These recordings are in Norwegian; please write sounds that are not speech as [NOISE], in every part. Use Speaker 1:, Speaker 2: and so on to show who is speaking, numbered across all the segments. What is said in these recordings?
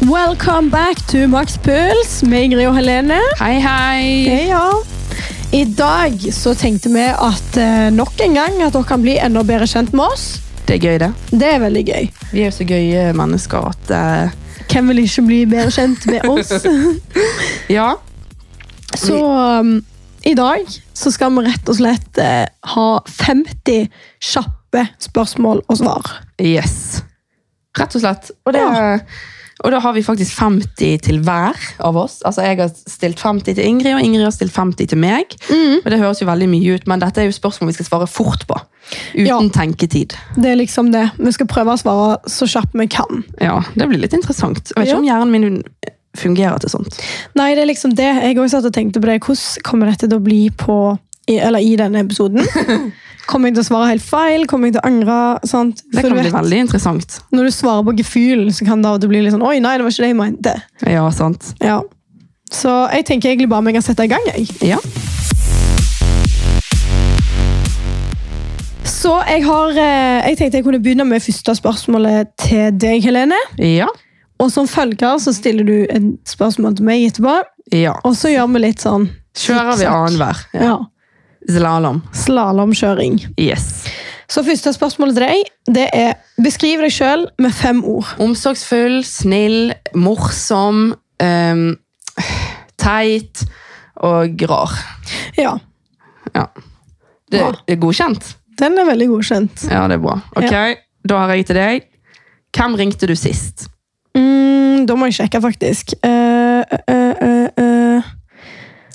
Speaker 1: Welcome back to Max Puls med Ingrid og Helene.
Speaker 2: Hei, hei!
Speaker 1: Hei, ja. I dag så tenkte vi at eh, nok en gang at dere kan bli enda bedre kjent med oss.
Speaker 2: Det er gøy, det.
Speaker 1: Det er veldig gøy.
Speaker 2: Vi er jo så gøye mennesker at eh,
Speaker 1: Hvem vil ikke bli bedre kjent [LAUGHS] med oss?
Speaker 2: Ja.
Speaker 1: Så um, i dag så skal vi rett og slett eh, ha 50 kjappe spørsmål og svar.
Speaker 2: Yes. Rett og slett. Og, det,
Speaker 1: Ja.
Speaker 2: og da har vi faktisk 50 til hver av oss. Altså, jeg har stilt 50 til Ingrid, og Ingrid har stilt 50 til meg. Og det høres jo veldig mye ut, men dette er jo spørsmål vi skal svare fort på. Uten
Speaker 1: Ja.
Speaker 2: tenketid.
Speaker 1: Det er liksom det. Vi skal prøve å svare så kjapt vi kan.
Speaker 2: Ja, det blir litt interessant. Jeg vet
Speaker 1: Ja.
Speaker 2: ikke om hjernen min fungerer til sånt.
Speaker 1: Nei, det er liksom det. Jeg også satt og tenkte på det. Hvordan kommer dette til å bli på, i, eller i denne
Speaker 2: [LAUGHS]
Speaker 1: episoden? Kommer jeg til å svare helt feil? Kommer jeg til å angre? Sant?
Speaker 2: Det
Speaker 1: For
Speaker 2: kan
Speaker 1: du
Speaker 2: bli
Speaker 1: vet,
Speaker 2: veldig interessant.
Speaker 1: Når du svarer på gefühl, så kan det av og til bli litt sånn Oi, nei, det var ikke det jeg mente.
Speaker 2: Ja, sant.
Speaker 1: Ja. Så jeg tenker egentlig bare vi kan sette i gang. jeg.
Speaker 2: Ja.
Speaker 1: Så jeg, har, eh, jeg tenkte jeg kunne begynne med første spørsmålet til deg, Helene.
Speaker 2: Ja.
Speaker 1: Og som følger så stiller du et spørsmål til meg etterpå.
Speaker 2: Ja.
Speaker 1: Og så gjør vi litt sånn
Speaker 2: Kjører vi annenhver. Ja.
Speaker 1: ja,
Speaker 2: Slalåm.
Speaker 1: slalåmkjøring.
Speaker 2: Yes.
Speaker 1: Så første spørsmål til deg det er beskriv deg sjøl med fem ord.
Speaker 2: Omsorgsfull, snill, morsom, ehm, teit og rar.
Speaker 1: Ja,
Speaker 2: Det
Speaker 1: Bra.
Speaker 2: det er godkjent.
Speaker 1: Den er veldig godkjent.
Speaker 2: Ja, det er bra. Ok, Da har jeg til deg. Hvem ringte du sist?
Speaker 1: Mm, da må jeg sjekke, faktisk. Eh, eh, eh, eh.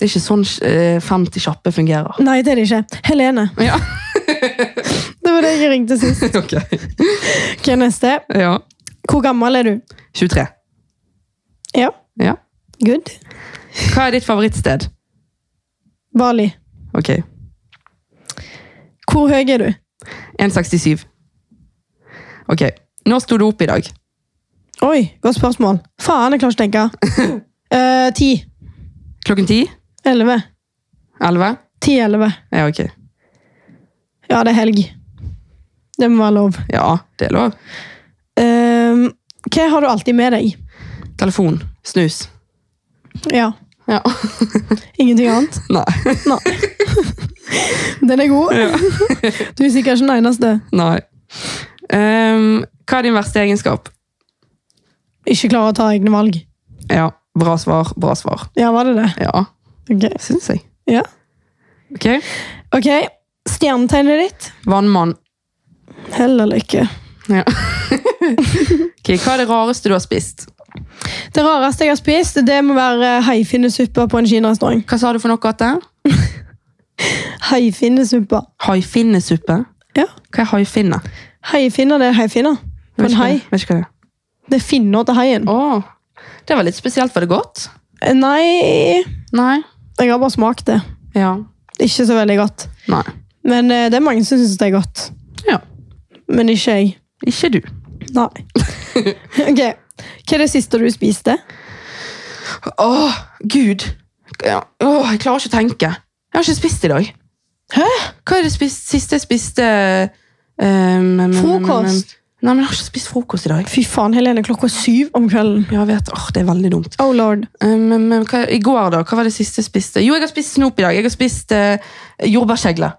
Speaker 2: Det er ikke sånn eh, 50 kjappe fungerer.
Speaker 1: Nei, det er det ikke. Helene.
Speaker 2: Ja,
Speaker 1: [LAUGHS] Det var det jeg ringte sist.
Speaker 2: [LAUGHS] ok.
Speaker 1: Ok, neste.
Speaker 2: Ja.
Speaker 1: Hvor gammel er du?
Speaker 2: 23.
Speaker 1: Ja.
Speaker 2: Ja.
Speaker 1: Good.
Speaker 2: Hva er ditt favorittsted?
Speaker 1: Bali.
Speaker 2: Ok.
Speaker 1: Hvor høy er du?
Speaker 2: 1,67. Ok. Når sto du opp i dag?
Speaker 1: Oi, godt spørsmål. Faen, jeg klarer ikke å tenke. [LAUGHS] Eh, Ti.
Speaker 2: Klokken 10?
Speaker 1: Elleve.
Speaker 2: 11?
Speaker 1: Ti-elleve.
Speaker 2: Ja, ok.
Speaker 1: Ja, det er helg. Det må være lov.
Speaker 2: Ja, det er lov.
Speaker 1: Eh, hva har du alltid med deg?
Speaker 2: Telefon. Snus.
Speaker 1: Ja.
Speaker 2: Ja. [LAUGHS]
Speaker 1: Ingenting annet?
Speaker 2: Nei. [LAUGHS]
Speaker 1: Nei. Den er god. [LAUGHS] Du er sikkert ikke den eneste.
Speaker 2: Nei. Ehm, hva er din verste egenskap?
Speaker 1: Ikke klarer å ta egne valg.
Speaker 2: Ja, bra svar, bra svar.
Speaker 1: Ja, var det det?
Speaker 2: Ja,
Speaker 1: Ok.
Speaker 2: syns jeg.
Speaker 1: Ja.
Speaker 2: Ok.
Speaker 1: Ok, Stjernetegnet ditt?
Speaker 2: Vannmann.
Speaker 1: Heller lykke.
Speaker 2: Ja. Ok, hva er det rareste du har spist?
Speaker 1: Det rareste jeg har spist, det må være haifinnesuppe på en kinarestaurant.
Speaker 2: Hva sa du for noe, Atte?
Speaker 1: Haifinnesuppe.
Speaker 2: Haifinnesuppe?
Speaker 1: Ja.
Speaker 2: Hva er haifinne?
Speaker 1: Haifinner, det er haifinner. På en
Speaker 2: Vet ikke hva-
Speaker 1: hai.
Speaker 2: Vet ikke hva det er.
Speaker 1: Det er finner til haien.
Speaker 2: Å, det var litt spesielt. Var det godt?
Speaker 1: Eh, Nei
Speaker 2: Nei.
Speaker 1: Jeg har bare smakt det.
Speaker 2: Ja.
Speaker 1: Ikke så veldig godt.
Speaker 2: Nei.
Speaker 1: Men eh, det er mange som syns det er godt.
Speaker 2: Ja.
Speaker 1: Men ikke jeg.
Speaker 2: Ikke du.
Speaker 1: Nei. [LAUGHS] Ok. Hva er det siste du spiste?
Speaker 2: Åh, Gud. Ja, Åh, jeg klarer ikke å tenke. Jeg har ikke spist i dag.
Speaker 1: Hæ?
Speaker 2: Hva er det spis- siste jeg spiste? ehm, mm, mm,
Speaker 1: Frokost?
Speaker 2: mm, mm. Nei, men jeg har ikke spist frokost i dag.
Speaker 1: Fy faen, Helene, klokka er syv om kvelden.
Speaker 2: Ja, jeg vet. Åh, det er veldig dumt.
Speaker 1: Oh lord.
Speaker 2: Ehm, mm, mm, hva, I går da, hva var det siste jeg spiste? Jo, jeg har spist snop i dag. Jeg har spist uh, jordbærskjegle.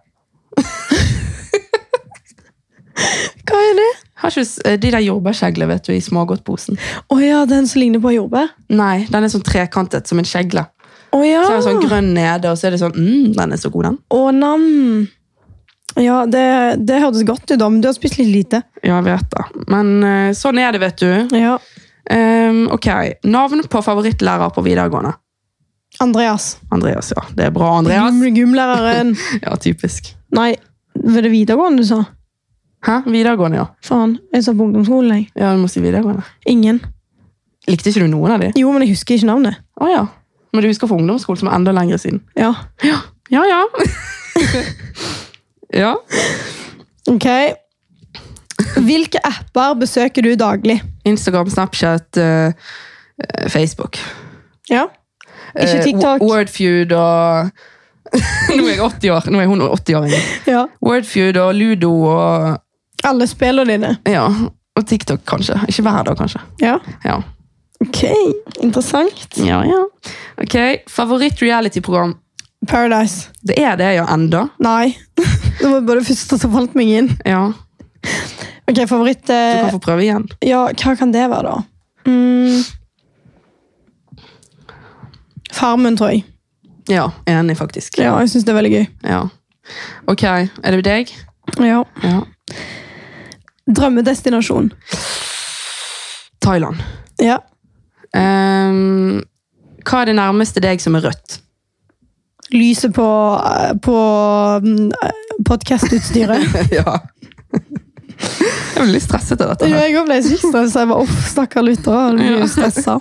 Speaker 1: Hva er det?
Speaker 2: Har ikke, s- eh, de der jordbærskjegle, vet du, i smågodtposen.
Speaker 1: Å ja, den som ligner på jordbær.
Speaker 2: Nei, den er sånn trekantet, som en skjegle.
Speaker 1: Å ja!
Speaker 2: Så er det sånn grønn nede, og så er det sånn, mm, den er så god den.
Speaker 1: Å nam. Ja, det, det hørtes godt ut, da, men du har spist litt lite.
Speaker 2: Ja, jeg vet det. Men eh, sånn er det, vet du.
Speaker 1: Ja.
Speaker 2: Ehm, ok, Navn på favorittlærer på videregående?
Speaker 1: Andreas.
Speaker 2: Andreas, ja. Det er bra, Andreas.
Speaker 1: Gym, [LAUGHS] gymlæreren.
Speaker 2: [LAUGHS] Ja, typisk.
Speaker 1: Nei, var det videregående du sa?
Speaker 2: Hæ? Videregående, ja.
Speaker 1: Faen, jeg sa på ungdomsskolen, jeg.
Speaker 2: Ja, du må si videregående.
Speaker 1: Ingen.
Speaker 2: Likte ikke du noen av de?
Speaker 1: Jo, men jeg husker ikke navnet.
Speaker 2: Å ja. Men du husker fra ungdomsskolen, som er enda lengre siden.
Speaker 1: Ja.
Speaker 2: Ja, [LAUGHS] ja. ja.
Speaker 1: Ok. Hvilke apper besøker du daglig?
Speaker 2: Instagram, Snapchat, eh, eh, Facebook.
Speaker 1: Ja. Ikke
Speaker 2: Eh,
Speaker 1: TikTok.
Speaker 2: Wo- Wordfeud og [LAUGHS] Nå er jeg 80 år. Nå er hun 80 år. egentlig.
Speaker 1: ja.
Speaker 2: Wordfeud og Ludo og
Speaker 1: Alle spillene dine.
Speaker 2: Ja. Og TikTok, kanskje. Ikke hver dag, kanskje.
Speaker 1: Ja.
Speaker 2: Ja.
Speaker 1: Ok, interessant.
Speaker 2: Ja, ja. Ok, Favoritt-reality-program?
Speaker 1: Paradise.
Speaker 2: Det er det jo enda.
Speaker 1: [LAUGHS] Nei. Det var bare det første som falt meg inn.
Speaker 2: Ja,
Speaker 1: Ok, favoritt...
Speaker 2: Du
Speaker 1: Eh,
Speaker 2: kan få prøve igjen.
Speaker 1: ja, hva kan det være da? Mm. Farmen, tror jeg.
Speaker 2: Ja, Enig, faktisk.
Speaker 1: Ja, jeg synes det er veldig gøy.
Speaker 2: Ja. Ok, er det deg?
Speaker 1: Ja.
Speaker 2: Ja.
Speaker 1: Drømmedestinasjon.
Speaker 2: Thailand.
Speaker 1: Ja.
Speaker 2: Ehm, hva er det nærmeste deg som er rødt?
Speaker 1: Lyset på, eh, på mm, eh, [LAUGHS] podcastutstyret.
Speaker 2: [LAUGHS] ja. Jeg blir litt stresset av dette.
Speaker 1: Jo,
Speaker 2: her.
Speaker 1: jeg også ble sykt stresset. Jeg var, uff, stakkar lytter. Jeg blir jo stressa.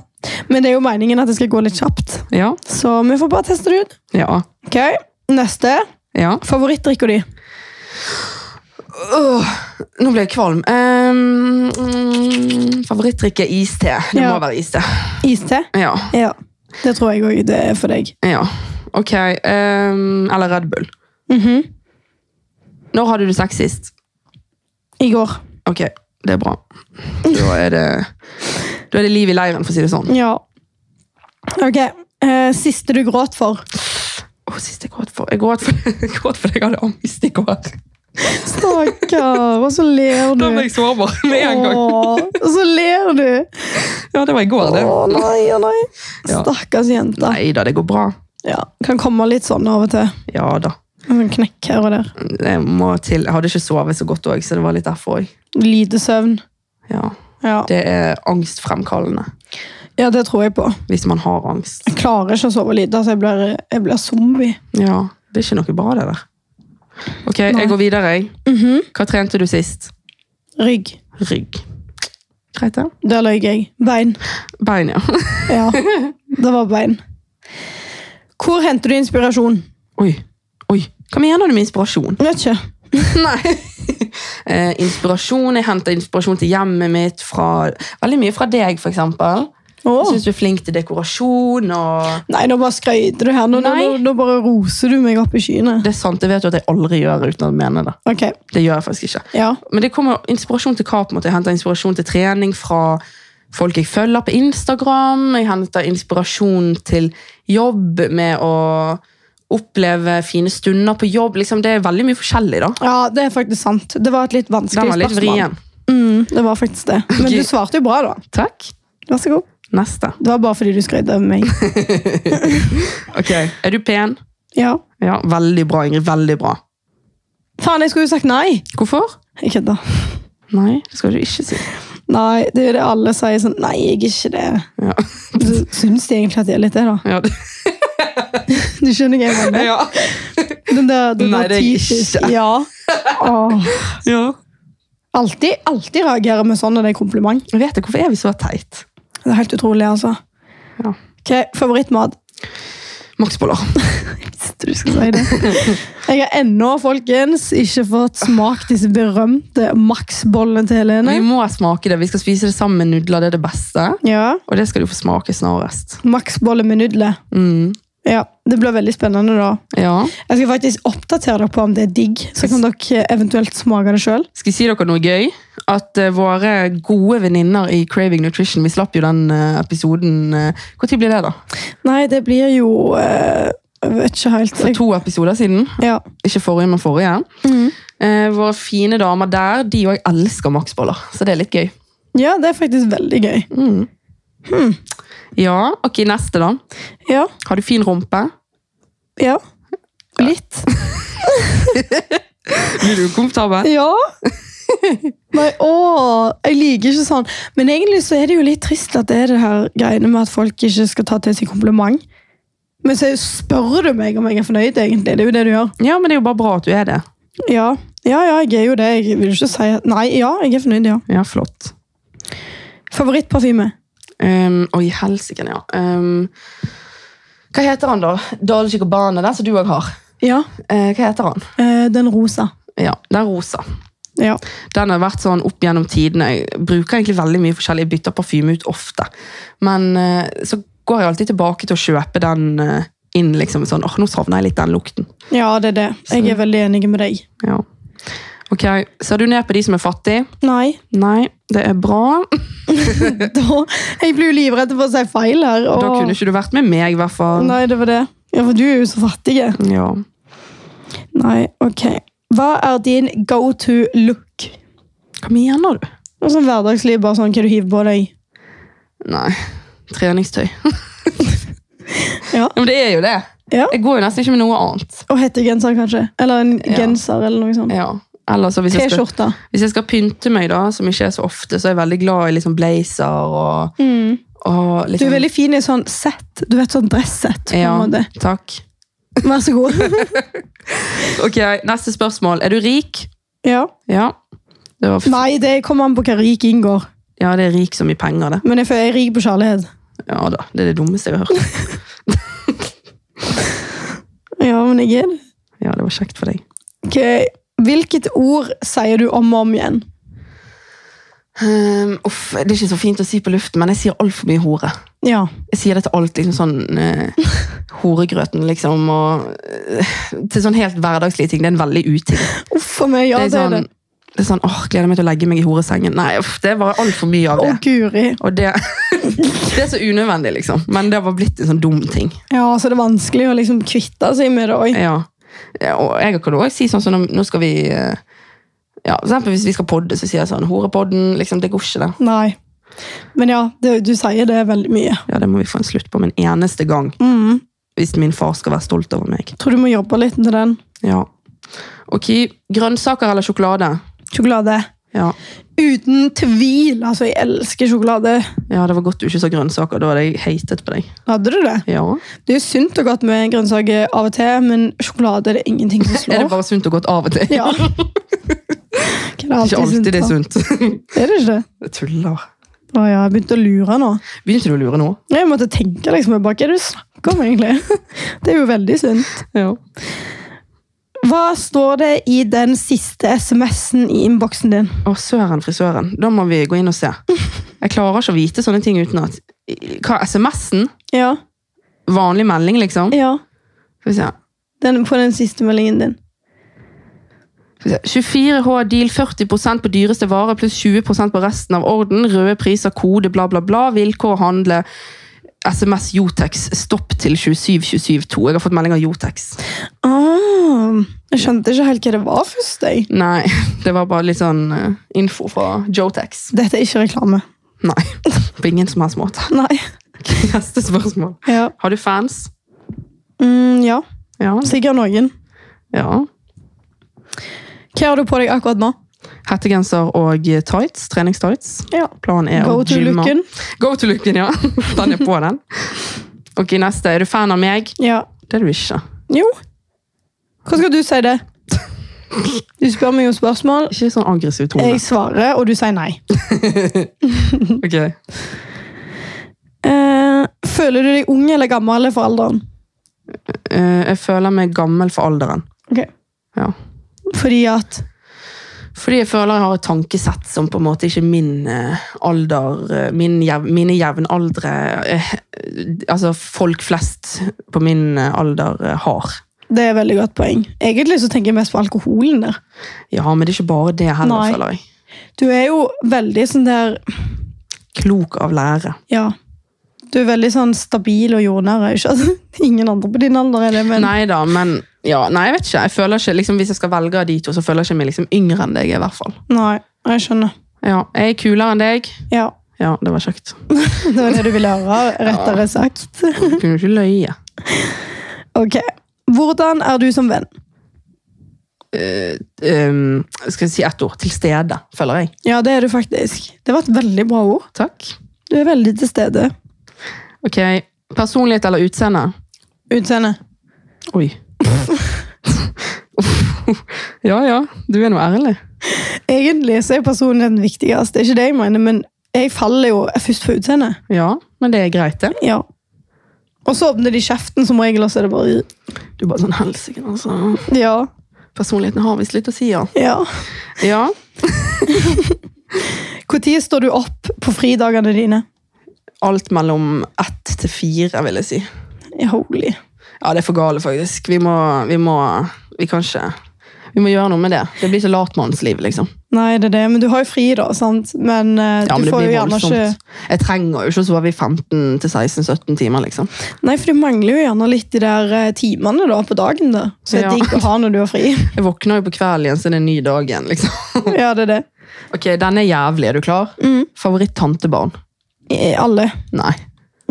Speaker 1: Men det er jo meningen at det skal gå litt kjapt.
Speaker 2: Ja.
Speaker 1: Så vi får bare teste det ut.
Speaker 2: Ja.
Speaker 1: Ok, neste.
Speaker 2: ja.
Speaker 1: Favorittdrikka di?
Speaker 2: Åh, nå ble jeg kvalm. Ehm, mm, favorittdrikke iste. Det
Speaker 1: Ja.
Speaker 2: må være iste.
Speaker 1: Iste?
Speaker 2: Ja.
Speaker 1: Ja. Det tror jeg òg det er for deg.
Speaker 2: ja. Ok. ehm, eller Red Bull.
Speaker 1: Mhm.
Speaker 2: Når hadde du sex sist?
Speaker 1: I går.
Speaker 2: Ok, det er bra. Da er det, da er det liv i leiren, for å si det sånn.
Speaker 1: Ja. Ok. eh, siste du gråt for?
Speaker 2: Åh, sist jeg gråt for Jeg gråt for, [LAUGHS] jeg gråt for jeg hadde angst i går.
Speaker 1: Stakkar! Og så ler du.
Speaker 2: Da ble jeg sårbar med en gang.
Speaker 1: Åh, og så ler du!
Speaker 2: Ja, det var i går, det.
Speaker 1: Å nei, å nei.
Speaker 2: Ja.
Speaker 1: Stakkars jente.
Speaker 2: Nei da, det går bra.
Speaker 1: Ja. Kan komme litt sånn av og til.
Speaker 2: Ja da.
Speaker 1: En sånn knekk her og der.
Speaker 2: Jeg må til Jeg hadde ikke sovet så godt òg, så det var litt derfor òg.
Speaker 1: Lite søvn.
Speaker 2: Ja.
Speaker 1: Ja.
Speaker 2: Det er angstfremkallende
Speaker 1: ja, det tror jeg på.
Speaker 2: hvis man har angst.
Speaker 1: Jeg klarer ikke å sove lite, så jeg blir, jeg blir zombie.
Speaker 2: Ja, Det er ikke noe bra, det der. Ok,
Speaker 1: Nei.
Speaker 2: jeg går videre. jeg.
Speaker 1: Mhm.
Speaker 2: Hva trente du sist?
Speaker 1: Rygg.
Speaker 2: Rygg. Greit, det.
Speaker 1: Der løy jeg. Bein.
Speaker 2: Bein, ja.
Speaker 1: Ja, det var bein. Hvor henter du inspirasjon?
Speaker 2: Oi. Oi. Hva mener du med inspirasjon?
Speaker 1: Vet ikke.
Speaker 2: Nei. Eh, inspirasjon. Jeg henter inspirasjon til hjemmet mitt fra Veldig mye fra deg, for eksempel. Jeg
Speaker 1: Åh.
Speaker 2: syns du er flink til dekorasjon og
Speaker 1: Nei, nå bare skrøyter du her. Nå, nå,
Speaker 2: Nei.
Speaker 1: nå bare roser du meg opp i skyene.
Speaker 2: Det er sant, det vet du at jeg aldri gjør uten å mene det.
Speaker 1: Ok,
Speaker 2: Det gjør jeg faktisk ikke.
Speaker 1: ja.
Speaker 2: Men det kommer inspirasjon til hva? på en måte? Jeg henter inspirasjon til trening fra folk jeg følger på Instagram. Jeg henter inspirasjon til jobb med å oppleve fine stunder på jobb. Liksom, det er veldig mye forskjellig, da.
Speaker 1: Ja, det er faktisk sant. Det var et litt vanskelig
Speaker 2: Den var litt
Speaker 1: spørsmål.
Speaker 2: vrien.
Speaker 1: Mm, det var faktisk det. Men
Speaker 2: Ok.
Speaker 1: du svarte jo bra, da.
Speaker 2: Takk.
Speaker 1: Vær så god.
Speaker 2: Neste.
Speaker 1: Det var bare fordi du skrøyte av meg.
Speaker 2: Ok, Er du pen?
Speaker 1: Ja.
Speaker 2: Ja, Veldig bra, Ingrid. Veldig bra.
Speaker 1: Faen, jeg skulle jo sagt nei!
Speaker 2: Hvorfor?
Speaker 1: Jeg kødder.
Speaker 2: Nei, det skal du ikke si.
Speaker 1: Nei, det er jo det alle sier sånn Nei, jeg er ikke det.
Speaker 2: Ja.
Speaker 1: Du- Syns de egentlig at de er litt det, da?
Speaker 2: Ja, det,
Speaker 1: Du skjønner hva jeg mener?
Speaker 2: [LAUGHS] ja.
Speaker 1: Den der, den
Speaker 2: Nei,
Speaker 1: der
Speaker 2: det er jeg
Speaker 1: typisk-
Speaker 2: ikke.
Speaker 1: Ja. Åh.
Speaker 2: ja.
Speaker 1: Alltid, alltid reagerer med sånn når det er kompliment.
Speaker 2: Jeg vet det, Hvorfor er vi så teit?
Speaker 1: Det er helt utrolig, altså.
Speaker 2: Ja.
Speaker 1: Ok, Favorittmat?
Speaker 2: Maksboller.
Speaker 1: Visste du skulle si
Speaker 2: [LAUGHS]
Speaker 1: det. Jeg har ennå, folkens, ikke fått smakt disse berømte Max-bollene til Helene.
Speaker 2: Vi må smake det. Vi skal spise det sammen med nudler. Det er det beste.
Speaker 1: Ja,
Speaker 2: Og det skal du få smake snarest.
Speaker 1: Max-bolle med nudler.
Speaker 2: Mm.
Speaker 1: Ja, Det blir veldig spennende, da.
Speaker 2: Ja.
Speaker 1: Jeg skal faktisk oppdatere dere på om det er digg, så kan dere eventuelt smake det sjøl.
Speaker 2: Skal jeg si dere noe gøy? At eh, våre gode venninner i Craving Nutrition Vi slapp jo den eh, episoden uh, Hvor tid blir det, da?
Speaker 1: Nei, det blir jo eh, Jeg vet ikke helt.
Speaker 2: For
Speaker 1: Jeg,
Speaker 2: to episoder siden.
Speaker 1: ja.
Speaker 2: Ikke forrige, men forrige. Eh, våre fine damer der de òg elsker maksboller, så det er litt gøy.
Speaker 1: ja, det er faktisk veldig gøy.
Speaker 2: Mm. Ja, ok, neste da.
Speaker 1: Ja.
Speaker 2: Har du fin rumpe?
Speaker 1: Ja. Litt.
Speaker 2: Blir du komfortabel?
Speaker 1: Ja. Nei, å, jeg liker ikke sånn. Men egentlig så er det jo litt trist at det er det her greiene med at folk ikke skal ta til seg kompliment. Men så spør du meg om jeg er fornøyd, egentlig. Det er jo det du gjør.
Speaker 2: Ja, men det er jo bare bra at du er det.
Speaker 1: Ja, ja, ja jeg er jo det. Jeg vil jo ikke si at Nei, ja, jeg er fornøyd, ja.
Speaker 2: Ja, flott.
Speaker 1: Favorittparfyme?
Speaker 2: Um, oi, helsiken, ja. Um, hva heter han da? Dolce Gabbana, den som du òg har.
Speaker 1: Ja.
Speaker 2: Eh, hva heter han?
Speaker 1: Eh, den rosa.
Speaker 2: Ja, det er rosa.
Speaker 1: Ja.
Speaker 2: Den har vært sånn opp gjennom tidene. Jeg bruker egentlig veldig mye forskjellig. Jeg bytter parfyme ut ofte. Men eh, så går jeg alltid tilbake til å kjøpe den eh, inn liksom sånn, åh, nå savner jeg litt den lukten.
Speaker 1: ja, det er det. Jeg er veldig enig med deg.
Speaker 2: Ja. Ok, Ser du ned på de som er fattige?
Speaker 1: Nei.
Speaker 2: Nei, det er bra.
Speaker 1: [LAUGHS] Da, jeg blir jo livredd for å si feil her. Og...
Speaker 2: Da kunne ikke du vært med meg, i hvert fall.
Speaker 1: Nei, det var det. Ja, for du er jo så fattig.
Speaker 2: Ja.
Speaker 1: Nei, ok. Hva er din go to look?
Speaker 2: Hva mener du?
Speaker 1: Og sånn hverdagsliv, bare sånn hva du hiver på deg.
Speaker 2: Nei, [LAUGHS] treningstøy.
Speaker 1: Ja.
Speaker 2: Men det er jo det.
Speaker 1: Ja.
Speaker 2: Jeg går jo nesten ikke med noe annet.
Speaker 1: Og hettegenser, kanskje. Eller en
Speaker 2: Ja.
Speaker 1: genser, eller noe sånt.
Speaker 2: Ja. Eller så hvis jeg, skal,
Speaker 1: T-skjorte.
Speaker 2: hvis jeg skal pynte meg, da, som ikke er så ofte, så er jeg veldig glad i liksom blazer og,
Speaker 1: Mm.
Speaker 2: og
Speaker 1: Du
Speaker 2: liksom,
Speaker 1: er veldig fin i sånn sett. Du vet, sånn dressett. på en
Speaker 2: Ja,
Speaker 1: måte.
Speaker 2: takk.
Speaker 1: Vær så god.
Speaker 2: [LAUGHS] Ok, Neste spørsmål. Er du rik?
Speaker 1: ja.
Speaker 2: Ja. Det, var f
Speaker 1: Nei, det kommer an på hva rik inngår.
Speaker 2: ja, det er rik så mye penger, det.
Speaker 1: Men jeg føler jeg er rik på kjærlighet.
Speaker 2: Ja da, Det er det dummeste jeg har [LAUGHS] hørt.
Speaker 1: Ja, men jeg er det.
Speaker 2: Ja, Det var kjekt for deg.
Speaker 1: Ok. Hvilket ord sier du om og om igjen?
Speaker 2: Um, uff, Det er ikke så fint å si på luften, men jeg sier altfor mye hore.
Speaker 1: Ja.
Speaker 2: Jeg sier det til alt, liksom sånn [LAUGHS] eh, horegrøten, liksom, og eh, til sånn helt hverdagslige ting. Det er en veldig uting.
Speaker 1: Uff a meg, ja,
Speaker 2: det er sånn,
Speaker 1: det.
Speaker 2: det. er sånn, åh, gleder meg til å legge meg i horesengen. Nei, uff, det er bare altfor mye av
Speaker 1: Å,
Speaker 2: det.
Speaker 1: guri.
Speaker 2: Og det, [LAUGHS] det er så unødvendig, liksom. Men det har bare blitt en sånn dum ting.
Speaker 1: Ja, så det er vanskelig å liksom kvitte seg med det òg.
Speaker 2: Ja. Ja, Og jeg kan også si sånn som nå- nå skal vi eh, ja, for eksempel Hvis vi skal podde, så sier jeg sånn Horepodden. liksom, Det går ikke, det.
Speaker 1: Nei. Men ja, det, du sier det veldig mye.
Speaker 2: Ja, Det må vi få en slutt på med en eneste gang.
Speaker 1: Mm.
Speaker 2: Hvis min far skal være stolt over meg.
Speaker 1: Tror du må jobbe litt med den.
Speaker 2: Ja. Ok, Grønnsaker eller sjokolade?
Speaker 1: Sjokolade.
Speaker 2: Ja.
Speaker 1: Uten tvil. Altså, jeg elsker sjokolade.
Speaker 2: ja, Det var godt du ikke sa grønnsaker. Da hadde jeg hatet på deg.
Speaker 1: Hadde du det?
Speaker 2: Ja.
Speaker 1: Det er jo sunt og godt med grønnsaker av og til, men sjokolade er det ingenting som slår.
Speaker 2: [LAUGHS] Er det bare sunt og godt av og til?
Speaker 1: Ja.
Speaker 2: [LAUGHS]
Speaker 1: Ikke
Speaker 2: Ikke alltid det er sunt. [LAUGHS]
Speaker 1: Er det ikke det?
Speaker 2: Jeg tuller.
Speaker 1: Å ja, jeg begynte å lure nå.
Speaker 2: Begynte du å lure nå?
Speaker 1: Jeg måtte tenke liksom, jeg bare, hva er det du snakker om egentlig? [LAUGHS] Det er jo veldig sunt.
Speaker 2: Ja.
Speaker 1: Hva står det i den siste SMS-en i innboksen din?
Speaker 2: Å, søren, frisøren. Da må vi gå inn og [LAUGHS] se. Jeg klarer ikke å vite sånne ting uten at Hva, SMS-en?
Speaker 1: Ja,
Speaker 2: Vanlig melding, liksom?
Speaker 1: ja.
Speaker 2: Skal vi se.
Speaker 1: Den, på den siste meldingen din.
Speaker 2: Skal vi se. 24H deal 40 på dyreste vare pluss 20 på resten av orden. Røde priser, kode, bla, bla, bla. Vilkår handle. SMS Jotex. Stopp til 27272. Jeg har fått melding av Jotex.
Speaker 1: Ah, jeg skjønte ikke helt hva det var først, jeg.
Speaker 2: Nei, det var bare litt sånn eh, info fra Jotex.
Speaker 1: Dette er ikke reklame. [LAUGHS]
Speaker 2: Nei, på ingen som helst måte.
Speaker 1: Nei.
Speaker 2: Neste spørsmål.
Speaker 1: Ja.
Speaker 2: Har du fans?
Speaker 1: Mm, ja,
Speaker 2: Ja.
Speaker 1: sikkert noen.
Speaker 2: ja.
Speaker 1: Hva har du på deg akkurat nå?
Speaker 2: Hettegenser og tights. Treningstights.
Speaker 1: Ja.
Speaker 2: Planen er
Speaker 1: Go
Speaker 2: å
Speaker 1: to
Speaker 2: gymme.
Speaker 1: looken.
Speaker 2: Go to looken, ja. Den er på, den. Ok, neste. Er du fan av meg?
Speaker 1: Ja.
Speaker 2: Det er du ikke.
Speaker 1: Jo. Hva skal du si [LAUGHS] det? Du spør meg om spørsmål,
Speaker 2: Ikke sånn aggressiv tone.
Speaker 1: jeg svarer, og du sier nei.
Speaker 2: Ok.
Speaker 1: Eh, føler du deg ung eller gammel for alderen?
Speaker 2: Eh, jeg føler meg gammel for alderen.
Speaker 1: Ok.
Speaker 2: Ja.
Speaker 1: Fordi at
Speaker 2: Fordi jeg føler jeg har et tankesett som på en måte ikke min eh, alder, eh, min jev, mine jevnaldre, eh, altså folk flest på min eh, alder eh, har.
Speaker 1: Det er et veldig godt poeng. Egentlig så tenker jeg mest på alkoholen der.
Speaker 2: Ja, men det er ikke bare det heller,
Speaker 1: Nei.
Speaker 2: føler jeg.
Speaker 1: Du er jo veldig sånn der
Speaker 2: Klok av lære.
Speaker 1: Ja. Du er veldig sånn stabil og jordnær. er jo Ikke? [LAUGHS] at Ingen andre på din alder er det, men
Speaker 2: Nei da, men ja, nei, jeg vet ikke. Jeg føler ikke liksom, hvis jeg skal velge av de to, så føler jeg ikke meg liksom yngre enn deg. i hvert fall.
Speaker 1: Nei, jeg skjønner.
Speaker 2: Ja, Jeg er kulere enn deg.
Speaker 1: Ja, [LAUGHS]
Speaker 2: Ja, det var kjekt.
Speaker 1: Det var det du ville høre, rettere sagt. [LAUGHS]
Speaker 2: Du kunne ikke løye.
Speaker 1: Ok. Hvordan er du som venn?
Speaker 2: Um, skal jeg si ett ord? Til stede, føler jeg.
Speaker 1: Ja, det er du faktisk. Det var et veldig bra ord.
Speaker 2: Takk.
Speaker 1: Du er veldig til stede.
Speaker 2: Ok, Personlighet eller utseende?
Speaker 1: Utseende.
Speaker 2: Oi. [LAUGHS] ja ja, du er nå ærlig.
Speaker 1: Egentlig så er personligheten viktigst. Det er ikke det jeg mener, men jeg faller jo først for utseende.
Speaker 2: Ja, men det er greit, det.
Speaker 1: Ja. Og så åpner de kjeften som regel, og så er det bare
Speaker 2: Du er bare sånn helsike, altså.
Speaker 1: Ja.
Speaker 2: Personligheten har visst litt å si, ja.
Speaker 1: ja.
Speaker 2: Ja,
Speaker 1: Når står du opp på fridagene dine?
Speaker 2: Alt mellom ett til fire, vil jeg si.
Speaker 1: Ja, Holy.
Speaker 2: Ja, det er for gale, faktisk. Vi må Vi, må, vi kan ikke Vi må gjøre noe med det. Det blir så latmannsliv, liksom.
Speaker 1: Nei, det er det. Men du har jo fri, da. sant? Men eh,
Speaker 2: Ja, men
Speaker 1: du
Speaker 2: det
Speaker 1: får jo
Speaker 2: blir
Speaker 1: gjerne
Speaker 2: voldsomt.
Speaker 1: ikke
Speaker 2: Jeg trenger jo ikke å sove i 15-16-17 timer, liksom.
Speaker 1: Nei, for du mangler jo gjerne litt de der eh, timene da på dagen. da. Så det er
Speaker 2: Ja.
Speaker 1: digg å ha når du har
Speaker 2: [LAUGHS]
Speaker 1: fri.
Speaker 2: Jeg våkner jo på kvelden igjen, så det er en ny dag igjen, liksom.
Speaker 1: Ja, det er det.
Speaker 2: [LAUGHS] Ok, den er jævlig. Er du klar?
Speaker 1: Mm.
Speaker 2: Favoritt-tantebarn?
Speaker 1: I- Alle.
Speaker 2: Nei.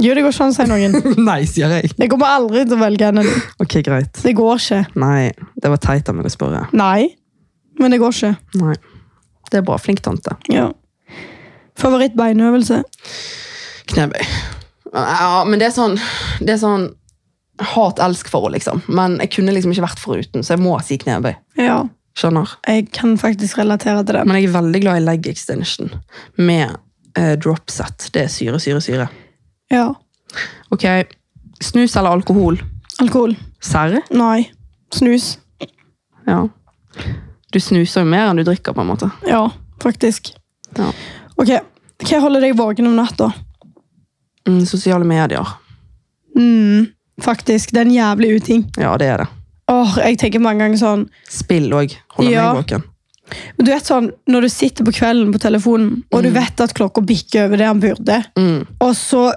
Speaker 1: Jo, det går ikke an å si noen.
Speaker 2: [LAUGHS] Nei, sier jeg.
Speaker 1: Jeg kommer aldri til å velge en. av de.
Speaker 2: Ok, greit.
Speaker 1: Det går ikke.
Speaker 2: Nei, det var teit av meg å spørre.
Speaker 1: Nei, men det går ikke.
Speaker 2: Nei. Det er bra. Flink tante.
Speaker 1: Ja. Favorittbeinøvelse.
Speaker 2: Knebøy. Ja, men det er sånn, det er sånn hat-elsk-forhold, liksom. Men jeg kunne liksom ikke vært foruten, så jeg må si knebøy.
Speaker 1: Ja,
Speaker 2: Skjønner.
Speaker 1: jeg kan faktisk relatere til det.
Speaker 2: Men jeg er veldig glad i leg extension med eh, drop set. Det er syre, syre, syre.
Speaker 1: Ja.
Speaker 2: Ok, snus eller alkohol?
Speaker 1: Alkohol.
Speaker 2: Serr?
Speaker 1: Nei. Snus.
Speaker 2: Ja. Du snuser jo mer enn du drikker, på en måte.
Speaker 1: Ja, faktisk.
Speaker 2: Ja.
Speaker 1: Ok, hva holder deg våken om natta?
Speaker 2: Mm, sosiale medier.
Speaker 1: Mm, faktisk, det er en jævlig uting.
Speaker 2: Ja, det er det.
Speaker 1: Åh, jeg tenker mange ganger sånn
Speaker 2: Spill òg. Holder
Speaker 1: Ja.
Speaker 2: meg våken.
Speaker 1: Du vet sånn, Når du sitter på kvelden på telefonen, og du vet at klokka bikker over det han burde,
Speaker 2: Mm.
Speaker 1: og så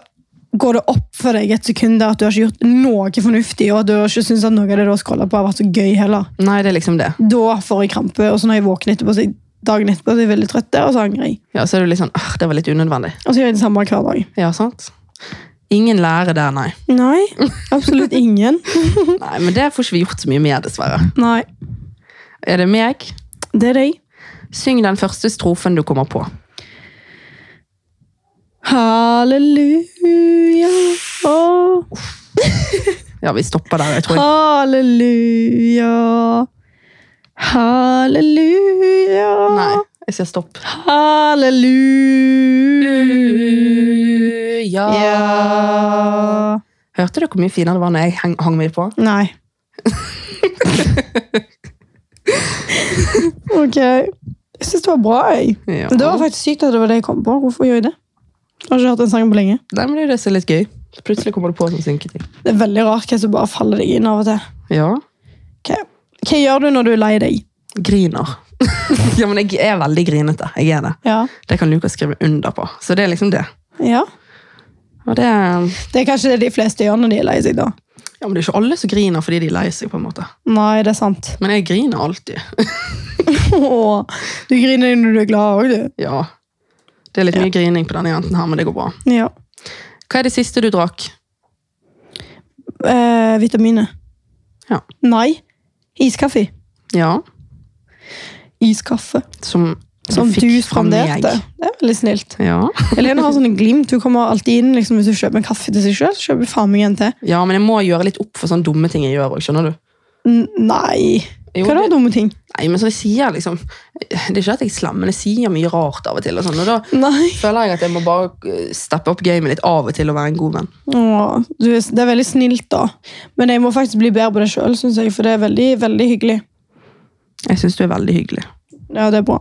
Speaker 1: går det opp for deg et sekund der at du har ikke gjort noe fornuftig, og at du har ikke syns at noe av det du har scrollet på, har vært så gøy heller.
Speaker 2: Nei, det er liksom det.
Speaker 1: Da får jeg krampe, og så når jeg våkner etterpå, så er jeg dagen etterpå så er jeg veldig trøtt, og så angrer jeg.
Speaker 2: Ja, så er du litt sånn «Ah, Det var litt unødvendig.
Speaker 1: Og så gjør jeg det samme hver dag.
Speaker 2: Ja, sant? Ingen lærer der, nei.
Speaker 1: Nei, [LAUGHS] absolutt ingen.
Speaker 2: Nei, Men det får ikke vi gjort så mye med, dessverre.
Speaker 1: Nei,
Speaker 2: Er det meg?
Speaker 1: det er deg.
Speaker 2: Syng den første strofen du kommer på.
Speaker 1: Halleluja, åh,
Speaker 2: Ja, vi stopper der. jeg tror jeg.
Speaker 1: halleluja. Halleluja.
Speaker 2: Nei, jeg sier stopp.
Speaker 1: Halleluja.
Speaker 2: Ja. Hørte dere hvor mye finere det var når jeg heng, hang meg på?
Speaker 1: Nei.
Speaker 2: [LAUGHS]
Speaker 1: ok. Jeg syns det var bra. jeg.
Speaker 2: Ja.
Speaker 1: Men Det var faktisk sykt at det var det jeg kom på. Hvorfor gjør jeg det? Jeg har ikke hørt den sangen på lenge.
Speaker 2: Nei, men det er jo det som er litt gøy. Plutselig kommer du på sånn synketing.
Speaker 1: Det er veldig rart hva som bare faller deg inn av og til.
Speaker 2: Ja.
Speaker 1: Ok. Hva gjør du når du er lei deg?
Speaker 2: Griner. [LAUGHS] ja, men jeg er veldig grinete. Jeg er det.
Speaker 1: Ja.
Speaker 2: Det kan Lukas skrive under på. Så det er liksom det.
Speaker 1: ja.
Speaker 2: Og det er...
Speaker 1: Det er kanskje det de fleste gjør når de er lei seg, da.
Speaker 2: Ja, men det er ikke alle som griner fordi de er lei seg, på en måte.
Speaker 1: Nei, det er sant.
Speaker 2: Men jeg griner alltid.
Speaker 1: [LAUGHS] Åh, du griner når du er glad òg, du.
Speaker 2: ja. Det er litt mye grining på denne jenten her, men det går bra.
Speaker 1: Ja.
Speaker 2: Hva er det siste du drakk?
Speaker 1: Eh, vitaminer.
Speaker 2: Ja.
Speaker 1: Nei. Iskaffe.
Speaker 2: Ja,
Speaker 1: Iskaffe.
Speaker 2: som,
Speaker 1: Som
Speaker 2: fikk
Speaker 1: du
Speaker 2: fra meg.
Speaker 1: spanderte. Det er veldig snilt.
Speaker 2: Ja.
Speaker 1: Helene har sånn en glimt. Hun kommer alltid inn liksom, hvis hun kjøper en kaffe til seg sjøl. Så kjøper hun faen meg en til.
Speaker 2: ja, men jeg må gjøre litt opp for sånne dumme ting jeg gjør òg, skjønner du?
Speaker 1: N nei.
Speaker 2: Jo,
Speaker 1: Hva da,
Speaker 2: det-
Speaker 1: dumme ting?
Speaker 2: Nei, men så jeg sier liksom Det er ikke at jeg er slem, men jeg sier mye rart av og til. Og, sånn, og da
Speaker 1: [LAUGHS] Nei.
Speaker 2: føler jeg at jeg må bare eh, steppe opp gamet litt av og til og være en god venn.
Speaker 1: Åh, du, er- det er veldig snilt, da. Men jeg må faktisk bli bedre på det sjøl, syns jeg. For det er veldig, veldig hyggelig.
Speaker 2: Jeg syns du er veldig hyggelig.
Speaker 1: Ja, det er [LAUGHS] bra.